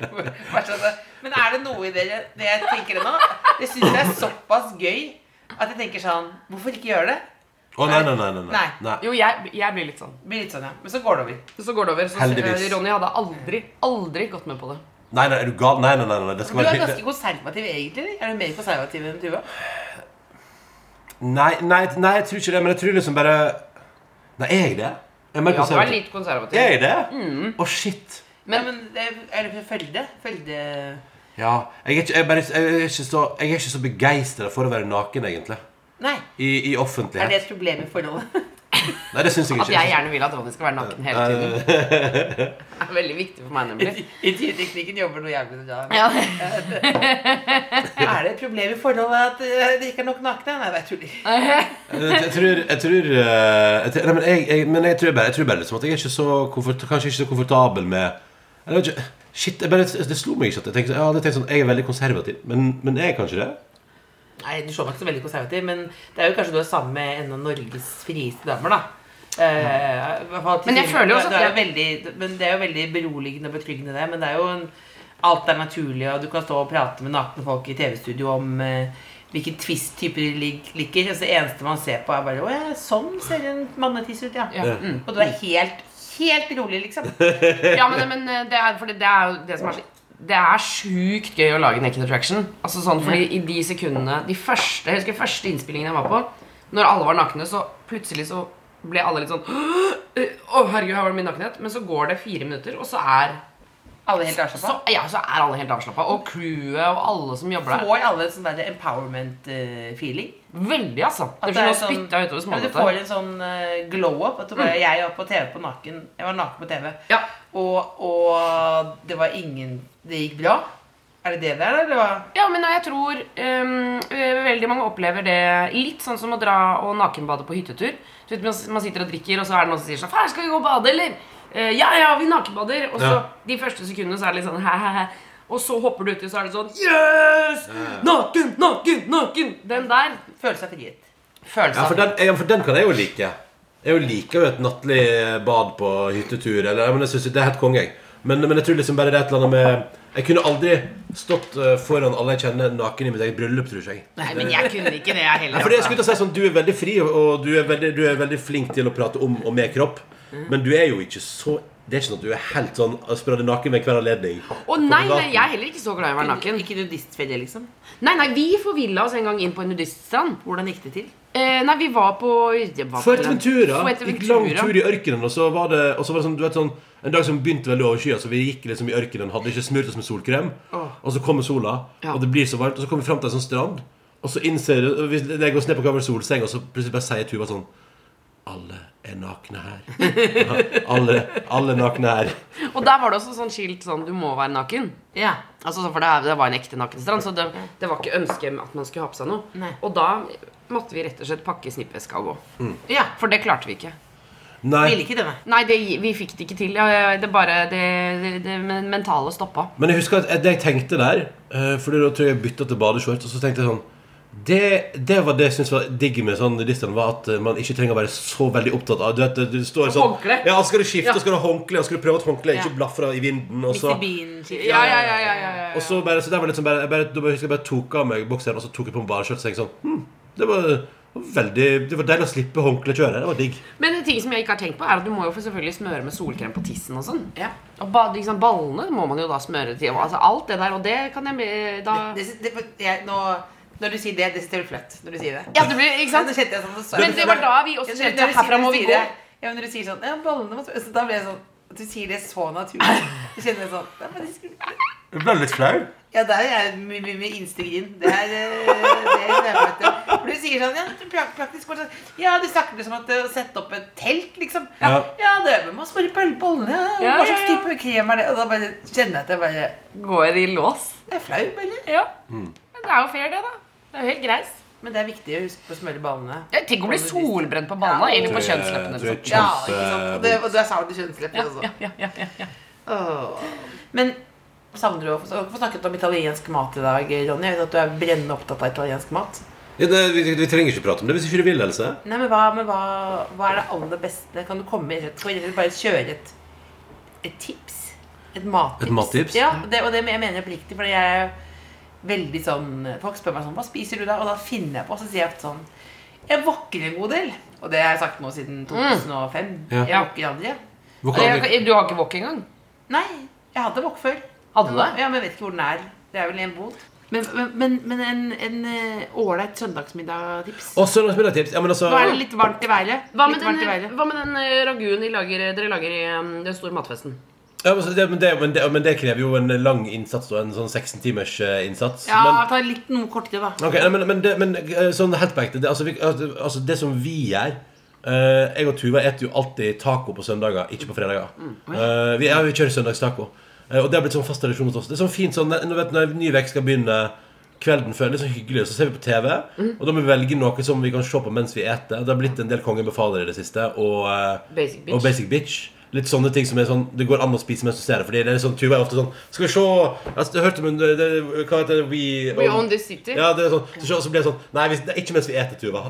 S2: Bare sånn at- Men er det noe i dere det jeg tenker nå? Det syns jeg er såpass gøy at jeg tenker sånn Hvorfor ikke gjøre det?
S5: Å, nei, nei, nei. nei, nei.
S2: Nei.
S5: nei.
S6: Jo, jeg, jeg blir litt sånn.
S2: Blir litt sånn, ja. Men så går det over.
S6: Så går det over. Så eh,
S5: Heldigvis.
S6: Ronny hadde aldri, aldri gått med på det.
S5: Nei, nei, er du gal? Nei, nei, nei, nei. Det
S2: Du
S5: skal
S2: er
S5: være
S2: ganske
S5: hyggelig.
S2: konservativ egentlig. eller? Er du mer konservativ enn Tuva?
S5: Nei, nei, nei, jeg tror ikke det, men jeg tror liksom bare Nei, er jeg det? Jeg er
S6: Ja, du
S5: mer
S6: er
S5: konservativ.
S6: litt konservativ.
S5: Er jeg det? Å, shit.
S2: Men, ja, men det- er det fra Følde? Følde
S5: Ja. Jeg er ikke, jeg bare, jeg er ikke så, jeg er ikke så begeistra for å være naken, egentlig.
S2: Nei.
S5: I, i
S2: Er det
S5: offentlighet.
S2: et problem i forholdet?
S5: Nei, det syns jeg
S6: At
S5: ikke.
S6: jeg gjerne vil at Ronny skal være naken hele tiden. Det er veldig viktig for meg, nemlig.
S2: Intervjuteknikken jobber noe jævlig bra.
S6: Ja.
S2: Er det et problem i forholdet at eh, det ikke er nok nakne? Nei, det er tuller.
S5: Eh, Jeg jeg tror, jeg tror, eh, jeg tror Nei, men jeg, jeg, men jeg tror bare, jeg tror bare liksom at jeg er ikke så komfort, kanskje ikke så komfortabel med Eller ikke, Shit, jeg bare, det slo meg ikke at jeg tenkte, jeg hadde tenkt sånn, jeg er veldig konservativ, men, men er jeg kanskje det?
S2: Nei, Du så meg ikke så veldig konservativ, men det er jo kanskje du er sammen med en av Norges frieste damer, da. Eh, i hvert fall til
S6: Men jeg
S2: siden-
S6: føler jo også
S2: det, det er
S6: at
S2: jo veldig, Men det er jo veldig beroligende og betryggende, det. Men det er jo en, alt er naturlig, og du kan stå og prate med nakne folk i TV-studio om eh, hvilken twist-type de lik- liker. Altså, det eneste man ser på, er bare Å ja, sånn ser en mannetiss ut, ja.
S6: Ja.
S2: Mm. Og du er helt, helt rolig, liksom.
S6: Ja, men, men eh, det er, fordi det er jo det som er så det er sjukt gøy å lage Naked Attraction. Altså sånn, fordi i De sekundene De første, jeg husker første innspillingen jeg var på Når alle var nakne, så plutselig så ble alle litt sånn Å, herregud, her var det min nakenhet. Men så går det fire minutter, og så er,
S2: Alle helt
S6: så,
S2: avslappa.
S6: ja, så er alle helt avslappa. Og crewet og alle som jobber der.
S2: Får alle en sånn der eh, empowerment-feeling.
S6: Veldig, altså.
S2: At
S6: Det
S2: det
S6: blir
S2: er
S6: noe
S2: sånn-
S6: spytta utover
S2: Ja, men du
S6: smågodta.
S2: får en sånn eh, glow up. At du bare, jeg var på TV på naken. Jeg var naken på TV.
S6: Ja.
S2: Og, og det var ingen Det gikk bra. Er det det der, eller? hva?
S6: Ja, men jeg tror ehm, eh, veldig mange opplever det litt sånn som å dra og nakenbade på hyttetur. Du vet, man s- man sitter og drikker, og så er det noen som sier sånn Her, skal vi gå og bade, eller? «Eh, ja, ja, vi nakenbader. Og så
S5: Ja.
S6: de første sekundene så er det litt sånn hæ, hæ, hæ. Og så hopper du uti, og så er det sånn Yes! Naken, naken, naken! Den der
S2: Følelse av frihet.
S5: Ja, for den, ja, for den kan jeg jo like. Jeg jo liker jo et nattlig bad på hyttetur, eller, men jeg synes jo det er helt konge. jeg. Men, men jeg tror liksom bare det er et eller annet med Jeg kunne aldri stått eh, foran alle jeg kjenner naken i mitt eget bryllup, tror jeg.
S6: Nei, men jeg kunne ikke det, jeg
S5: Ja,
S6: heller.
S5: for det jeg skulle til å si sånn, Du er veldig fri, og du er veldig, du er veldig flink til å prate om og med kropp.
S6: Mm.
S5: Men du er jo ikke så Det er ikke sånn at du er helt sånn spradd naken ved hver anledning.
S6: Å nei, nei, jeg er heller ikke så glad i å være naken.
S2: Ikke nudistferie, liksom.
S6: Nei, nei, vi forvilla oss en gang inn på en nudiststrand.
S2: Hvordan gikk det til?
S6: Eh, nei, vi var på det var på
S5: For et
S6: den-
S5: ventura! Gikk
S6: Fuerteventura.
S5: lang tur i ørkenen, og så var det, og så var det sånn, du vet, sånn en dag som begynte veldig overskyet, så vi gikk liksom i ørkenen, hadde ikke smurt oss med solkrem. Og så kommer sola,
S6: Ja.
S5: og det blir så varmt, og så kommer vi fram til en sånn strand. Og så innser du og vi legger oss ned på gammel solseng, og så plutselig bare sier Tuva sånn Alle er nakne her. alle, alle er nakne her.
S6: Og der var det også sånn skilt sånn Du må være naken.
S2: Ja.
S6: Altså, sånn, for det, det var en ekte nakenstrand, så det, det var ikke ønske at man skulle ha på seg noe.
S2: Nei.
S6: Og da måtte vi rett og slett pakke snippveska og gå.
S2: ja.
S6: For det klarte vi ikke.
S5: Nei.
S2: Ville ikke denne.
S6: Nei, det, vi fikk det ikke til. Ja, Det bare Det, det, det mentale stoppa.
S5: Men jeg husker at det jeg tenkte der eh, Fordi da tror jeg jeg bytta til badeshorts Og så tenkte jeg sånn det, det var det jeg syntes var digg med sånn nudistene, Var at eh, man ikke trenger å være så veldig opptatt av Du vet, du står sånn
S6: Håndkle.
S5: Ja, skal du skifte,
S6: Ja.
S5: skal du ha håndkle Og skal du prøve at håndkle ikke blaffer i vinden Og så,
S2: Mr. Bean. skikkelig.
S6: Ja, ja, ja, ja, ja, ja.
S5: og så liksom bare, så hmm, det var litt sånn bare, jeg bare, Da bare husker jeg bare tok av meg bokseren Og så tok jeg på meg badeshorts Og tenkte sånn, hm, det var, det Veldig, det var deilig å slippe håndklekjøret. Det var digg.
S6: Men en ting som jeg ikke har tenkt på, er at du må jo for selvfølgelig smøre med solkrem på tissen og sånn. Og ba, liksom, ballene må man jo da smøre til. og Altså alt det der, og det kan jeg med- da
S2: Det, det, jeg, nå, når du sier det, det sitter vel flaut. Når du sier det.
S6: Ja, det blir, ikke
S2: Ja,
S6: sant?
S2: nå kjente jeg sånn, så-
S6: Men det var da vi også
S2: Ja, når-
S6: kjente,
S2: når du sier-
S6: herfra
S2: når
S6: må
S2: du
S6: vi gå.
S2: sier det- Ja, men når du sier sånn Ja, ballene må smøres. Så Da ble jeg sånn At du sier det så naturlig. Så kjenner jeg sånn ja, men det skulle,
S5: Du ble litt flau?
S2: ja, der er jeg mye my, my instegrin. Det er eh, det er nærmere. For du sier sånn Ja, du prak- praktisk bare sånn Ja, du snakker liksom at eh, å sette opp et telt, liksom.
S5: Ja.
S2: Ja, ja det må smøre på bollene. Ja,
S6: Ja, ja,
S2: hva slags
S6: ja.
S2: type krem er det? Og da bare kjenner jeg at jeg bare
S6: Går i lås.
S2: Det er flau, eller?
S6: Ja.
S5: Mm.
S6: Men det er jo fair, det, da. Det er jo helt greis.
S2: Men det er viktig å huske på å smøre ballene.
S6: Jeg tenker å bli solbrent på ballene eller på kjønnsleppene.
S5: Tror jeg-
S6: liksom.
S5: tror jeg
S2: Ja,
S5: kjempe-
S2: ikke sant? Og, det, og der sa du kjønnslepper også.
S6: Ja, ja, ja, ja, ja.
S2: Åh. Men savner du å få få snakket om italiensk mat i dag, Ronny? Jeg vet at du er brennende opptatt av italiensk mat.
S5: Ja, det, vi, vi trenger ikke prate om det hvis ikke du vil, Else.
S2: Nei, men hva, men hva, hva er det aller beste? Kan du komme med rett for eller bare kjøre et, et tips? Et mattips.
S5: Et mattips?
S2: Ja, og det, og det jeg mener jeg oppriktig, fordi jeg er veldig sånn Folk spør meg sånn Hva spiser du da? Og da finner jeg på, så sier jeg ofte sånn Jeg våkker en god del. Og det har jeg sagt nå siden 2005.
S5: Ja.
S2: Jeg våkker aldri.
S5: Hvor kan vi-
S6: Jeg- Du har ikke wok engang?
S2: Nei, jeg hadde wok før.
S6: Hadde du det?
S2: Ja, men jeg vet ikke hvor den er. Det er vel i en bod. Men, men, men, men en, en eh, ålreit søndagsmiddagtips.
S5: Og søndagsmiddagtips. Ja, men altså
S2: Nå er det litt varmt i været.
S6: Hva med
S2: litt varmt i
S6: den,
S2: været.
S6: hva med den eh, raguen i lager, dere lager i eh, den store matfesten?
S5: ja, men, så det, men, det, men, det, men det krever jo en lang innsats, og en sånn 16-timers eh, innsats.
S2: Ja,
S5: Men,
S2: ta litt noe kortere, da.
S5: Ok, nei, men, men, det, men eh, sånn helt på ekte det, altså, vi, altså, det som vi gjør eh, Jeg og Tuva eter jo alltid taco på søndager, ikke på fredager.
S6: Mm,
S5: Eh, vi, ja, vi kjører søndagstaco. Eh, og det har blitt sånn fast tradisjon hos oss. Det er sånn fint sånn, når, vet, når en ny vekk skal begynne kvelden før, det er så hyggelig, så ser vi på TV,
S6: Mm.
S5: og da må vi velge noe som vi kan se på mens vi eter. Det har blitt en del Kongen befaler i det siste, og eh,
S6: Basic Bitch.
S5: og Basic Bitch. Litt sånne ting som er sånn Det går an å spise mens du ser det. Fordi det er sånn, Tuva er ofte sånn Skal vi se altså, Jeg hørte om hun det, det- Hva heter det? We, um,
S6: We own this city.
S5: Ja, det er sånn Så, så blir det sånn Nei, hvis, det er ikke mens vi eter, Tuva.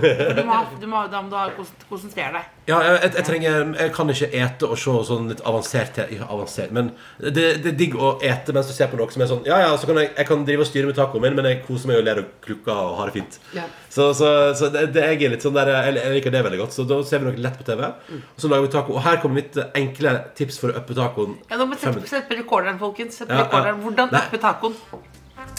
S5: Eh,
S2: Du må, ha- du må, ha- da må du ha- kons- konsentrere deg.
S5: ja, jeg, jeg, jeg trenger Jeg kan ikke ete og se sånn litt avansert te- ja, Avansert Men det, det er digg å ete mens du ser på noe som er sånn Ja, ja, så kan jeg, jeg kan drive og styre med tacoen min, men jeg koser meg og ler og klukker og har det fint.
S6: Ja.
S5: Så, så, så det, det, jeg er litt sånn der jeg, jeg liker det veldig godt. Så da ser vi noe lett på TV. Og så lager vi taco. Og her kommer mitt eh, enkle tips for å uppe tacoen.
S2: Ja, nå må
S5: Fem
S2: sette,
S5: minutter.
S2: sette på recorderen, folkens. Sett på
S5: Ja, ja.
S2: recorderen. Hvordan
S5: Nei.
S2: uppe tacoen?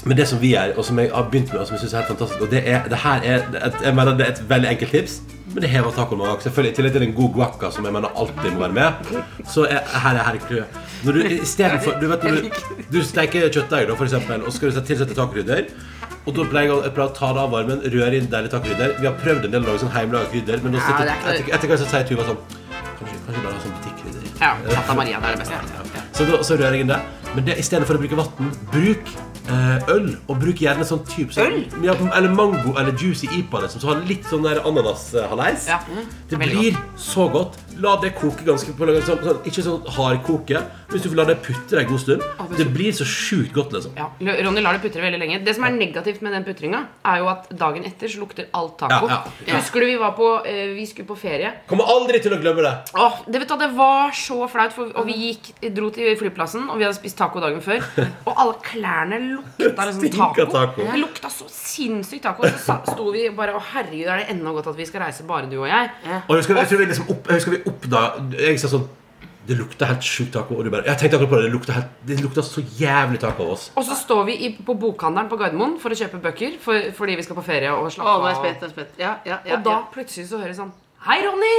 S5: Men det som vi gjør, og som jeg har begynt med, og som jeg synes er helt fantastisk Og det, er, det her er et, jeg mener det er et veldig enkelt tips, men det hever tacoen også. Selvfølgelig, I tillegg til en god guacca, som jeg mener alltid må være med, så er, her er her er clouet. Når du i stedet for Du vet når du, du steker kjøttdeig, da, for eksempel, og skal du tilsette tacokrydder. Og da pleier jeg å- jeg pleier å ta det av varmen, røre inn deilig tacokrydder. Vi har prøvd en del å lage sånn hjemmelaga krydder, men nå sitter,
S6: det er ikke-
S5: etter, etter hvert så sier Tuva sånn Kanskje, kanskje bare ha sånn butikkrydder.
S6: Ja, Katta Maria, det er det beste.
S5: Så, da, så rører jeg inn det. Men det, i stedet for å bruke vann, bruk eh, øl. Og bruk gjerne sånn type sånn, ja, Eller mango eller juicy ipa, liksom, som har litt sånn der ananashaleis.
S6: Ja, mm,
S5: det
S6: veldig
S5: blir så godt. La det koke ganske på sånn, sånn, Ikke sånn hardkoke. Hvis du får la det putre en god stund. Det blir så sjukt godt, liksom.
S6: Ja, L- Ronny lar det putre veldig lenge. Det som er negativt med den putringa, er jo at dagen etter så lukter alt taco.
S5: Ja, ja, ja.
S6: Husker du vi var på eh, Vi skulle på ferie.
S5: Kommer aldri til å glemme det.
S6: Åh, det, vet du, det var så flaut, for, og vi gikk, dro til flyplassen, og vi hadde spist taco dagen før. Og alle klærne lukta liksom taco.
S5: Stinka taco.
S6: Det lukta så sinnssykt taco. Så sa- sto vi bare Å, herregud, er det ennå godt at vi skal reise, bare du og jeg?
S5: Og jeg husker, jeg tror vi liksom opp, jeg husker vi oppdaga Jeg sa sånn Det lukter helt sjukt taco. Og du bare Jeg tenkte akkurat på det. Det lukter, helt, det lukter så jævlig taco av oss.
S6: Og så står vi i, på bokhandelen på Gardermoen for å kjøpe bøker for, fordi vi skal på ferie og slappe
S2: Å, nå
S6: av.
S2: er jeg spent. nå er jeg spent. Ja, ja, ja,
S6: Og da plutselig så hører jeg sånn Hei, Ronny!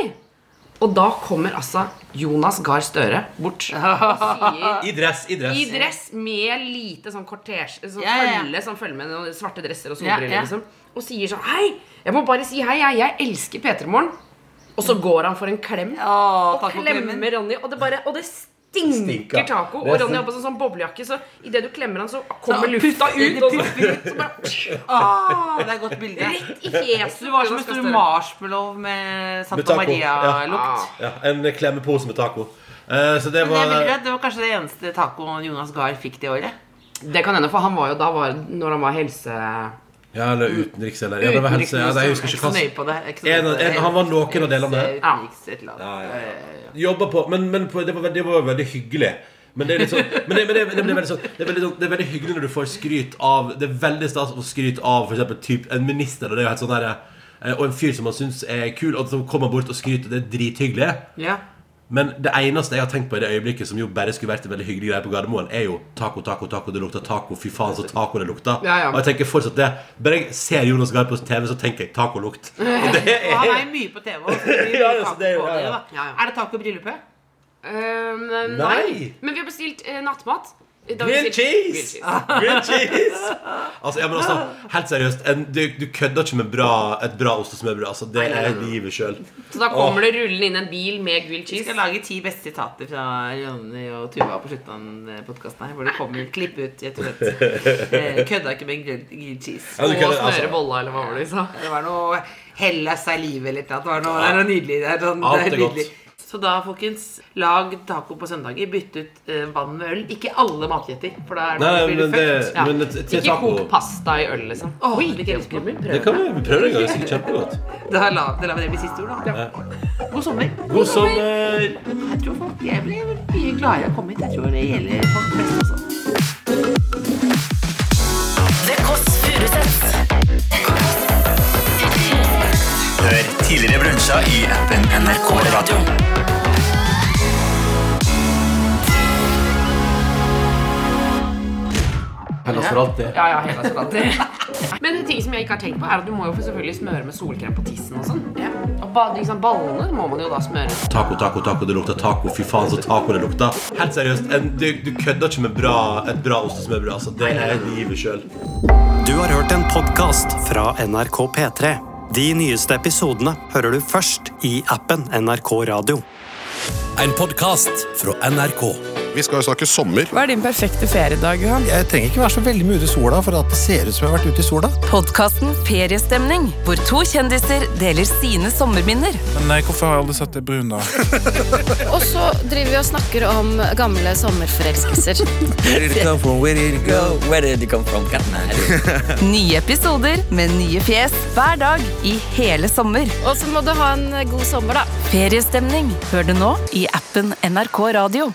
S6: Og da kommer altså Jonas Gahr Støre bort og sier
S5: I dress, i dress.
S6: i dress med lite sånn kortesje sånn
S2: Ja, ja, ja.
S6: følge som følger med noen svarte dresser og solbriller.
S2: Ja, ja.
S6: Liksom, og sier sånn Hei! Jeg må bare si hei, jeg, jeg elsker P3 Morgen. Og så går han for en klem
S2: ja. Å,
S6: og
S2: tacoklemmen.
S6: klemmer Ronny, og det bare Og det stinker
S5: Stinker.
S6: taco.
S5: Det
S6: Og
S5: er
S6: Ronny
S5: så-
S6: har på seg sånn boblejakke, så idet du klemmer han, så kommer lufta ut. Og så, så bare
S2: Å, det er et godt bilde.
S6: rett i fjeset.
S2: Du var som en
S6: Jonas Gahr
S2: stor
S6: Støre.
S2: marshmallow med
S5: Med
S2: Santa
S5: taco.
S2: Maria-lukt.
S6: Ah.
S5: Ja, en klemmepose med taco. Eh, så det
S2: Men jeg
S5: var
S2: vil si at Det var kanskje det eneste tacoen Jonas Gahr fikk det året.
S6: Det kan hende, for han var jo da var, Når han var helse...
S5: Ja, eller utenriks, eller ja, det var helse, ja, nei, Jeg husker
S2: Jeg er
S5: ikke
S2: ikke så nøye
S5: hva
S2: på det. jeg er ikke så
S5: En-
S2: nøye på det.
S5: en- han var noen av delene.
S2: Helse, utenriks, et eller annet.
S5: Ja, ja, Jobba på. Men, men på, det, var, veld- det var veldig hyggelig. Men det er litt sånn Men det, men det, det blir veldig sånn det er veldig, sånn- det er veldig hyggelig når du får skryt av Det er veldig stas å få skryt av for eksempel typ, en minister. Og det er jo helt sånn der, eh, og en fyr som man syns er kul, og som kommer bort og skryter, det er drithyggelig.
S2: Ja.
S5: Men det eneste jeg har tenkt på i det øyeblikket, som jo bare skulle vært en veldig hyggelig greie på Gardermoen, er jo taco, taco, taco, det lukter taco, fy faen så taco det lukter.
S6: Ja, ja.
S5: Og jeg tenker fortsatt det. Bare jeg ser Jonas Gahr på TV, så tenker jeg tacolukt. Og det
S2: Og han er
S5: er
S2: jo mye på TV. Også, så
S5: Ja,
S2: ja,
S5: ja, så det er jo- ja, ja.
S6: Ja, ja.
S2: Er det taco i bryllupet?
S6: Eh, nei.
S5: Nei.
S6: Men vi har bestilt eh, nattmat. Da har vi
S5: Grilled
S6: bestilt- Grilled
S5: cheese!
S6: cheese.
S5: Grilled cheese! Altså, ja, men altså, helt seriøst, en, du, du kødder ikke med bra, et bra ostesmørbrød. Altså, det
S6: nei,
S5: er
S6: nei.
S5: livet sjøl.
S6: Så da kommer det rullende inn en bil med grilled
S2: Vi
S6: cheese.
S2: skal lage ti beste sitater fra Ronny og Tuva på slutten av den podkasten her. Hvor det kommer klipp ut, rett og slett. Eh, Kødda ikke med en grilled grilled cheese.
S5: Ja, du
S6: Og
S5: kødder,
S6: smøre
S5: altså.
S6: bolla, eller hva var det de sa.
S2: Det var noe Hellas er livet eller noe. Det var noe, det er noe nydelig. Det er sånn,
S5: Alt
S2: det
S5: er
S2: er
S5: godt.
S2: nydelig. Så da, folkens, lag taco på søndager. Bytt ut eh, vann med øl. Ikke alle matretter, for da er det,
S5: Nei,
S2: blir
S5: men
S2: du
S5: det,
S2: fucked.
S6: Ja.
S5: men til
S6: Ikke
S5: taco
S6: kok pasta i øl, liksom.
S2: Åh,
S6: Oi,
S2: det
S6: det
S2: kan jeg
S6: skal vi
S2: ikke.
S5: Det
S6: prøve.
S5: kan vi vi prøver en gang. Det er sikkert kjempegodt.
S2: Da lar da lar vi det bli siste ord, da. God sommer.
S5: God sommer!
S2: Jeg tror folk jeg ble mye gladere av å komme hit. Jeg tror det gjelder folk flest også.
S1: The Kåss Furuseths.
S9: Hør tidligere brunsja i appen NRK Radio.
S5: Hellas for alltid.
S6: Ja, ja, hele salaten. Men en ting som jeg ikke har tenkt på, er at du må jo selvfølgelig smøre med solkrem på tissen og sånn. Og ba, liksom ballene må man jo da smøre.
S5: Taco, taco, taco, det lukter taco. Fy faen, så taco det lukter. Helt seriøst, en, du, du kødder ikke med bra, et bra ostesmørbrød. Altså, det er livet sjøl.
S10: Du har hørt en podcast fra NRK P3. De nyeste episodene hører du først i appen NRK Radio.
S11: En podkast fra NRK.
S12: Vi skal jo snakke sommer.
S13: Hva er din perfekte feriedag, Johan?
S11: Jeg trenger ikke være så veldig mye ute i sola for at det ser ut som jeg har vært ute i sola.
S13: Podkasten Feriestemning, hvor to kjendiser deler sine sommerminner.
S14: Og så driver vi og snakker om gamle sommerforelskelser.
S13: Nye episoder med nye fjes hver dag i hele sommer.
S14: Og så må du ha en god sommer, da.
S13: Feriestemning hører du nå i appen NRK Radio.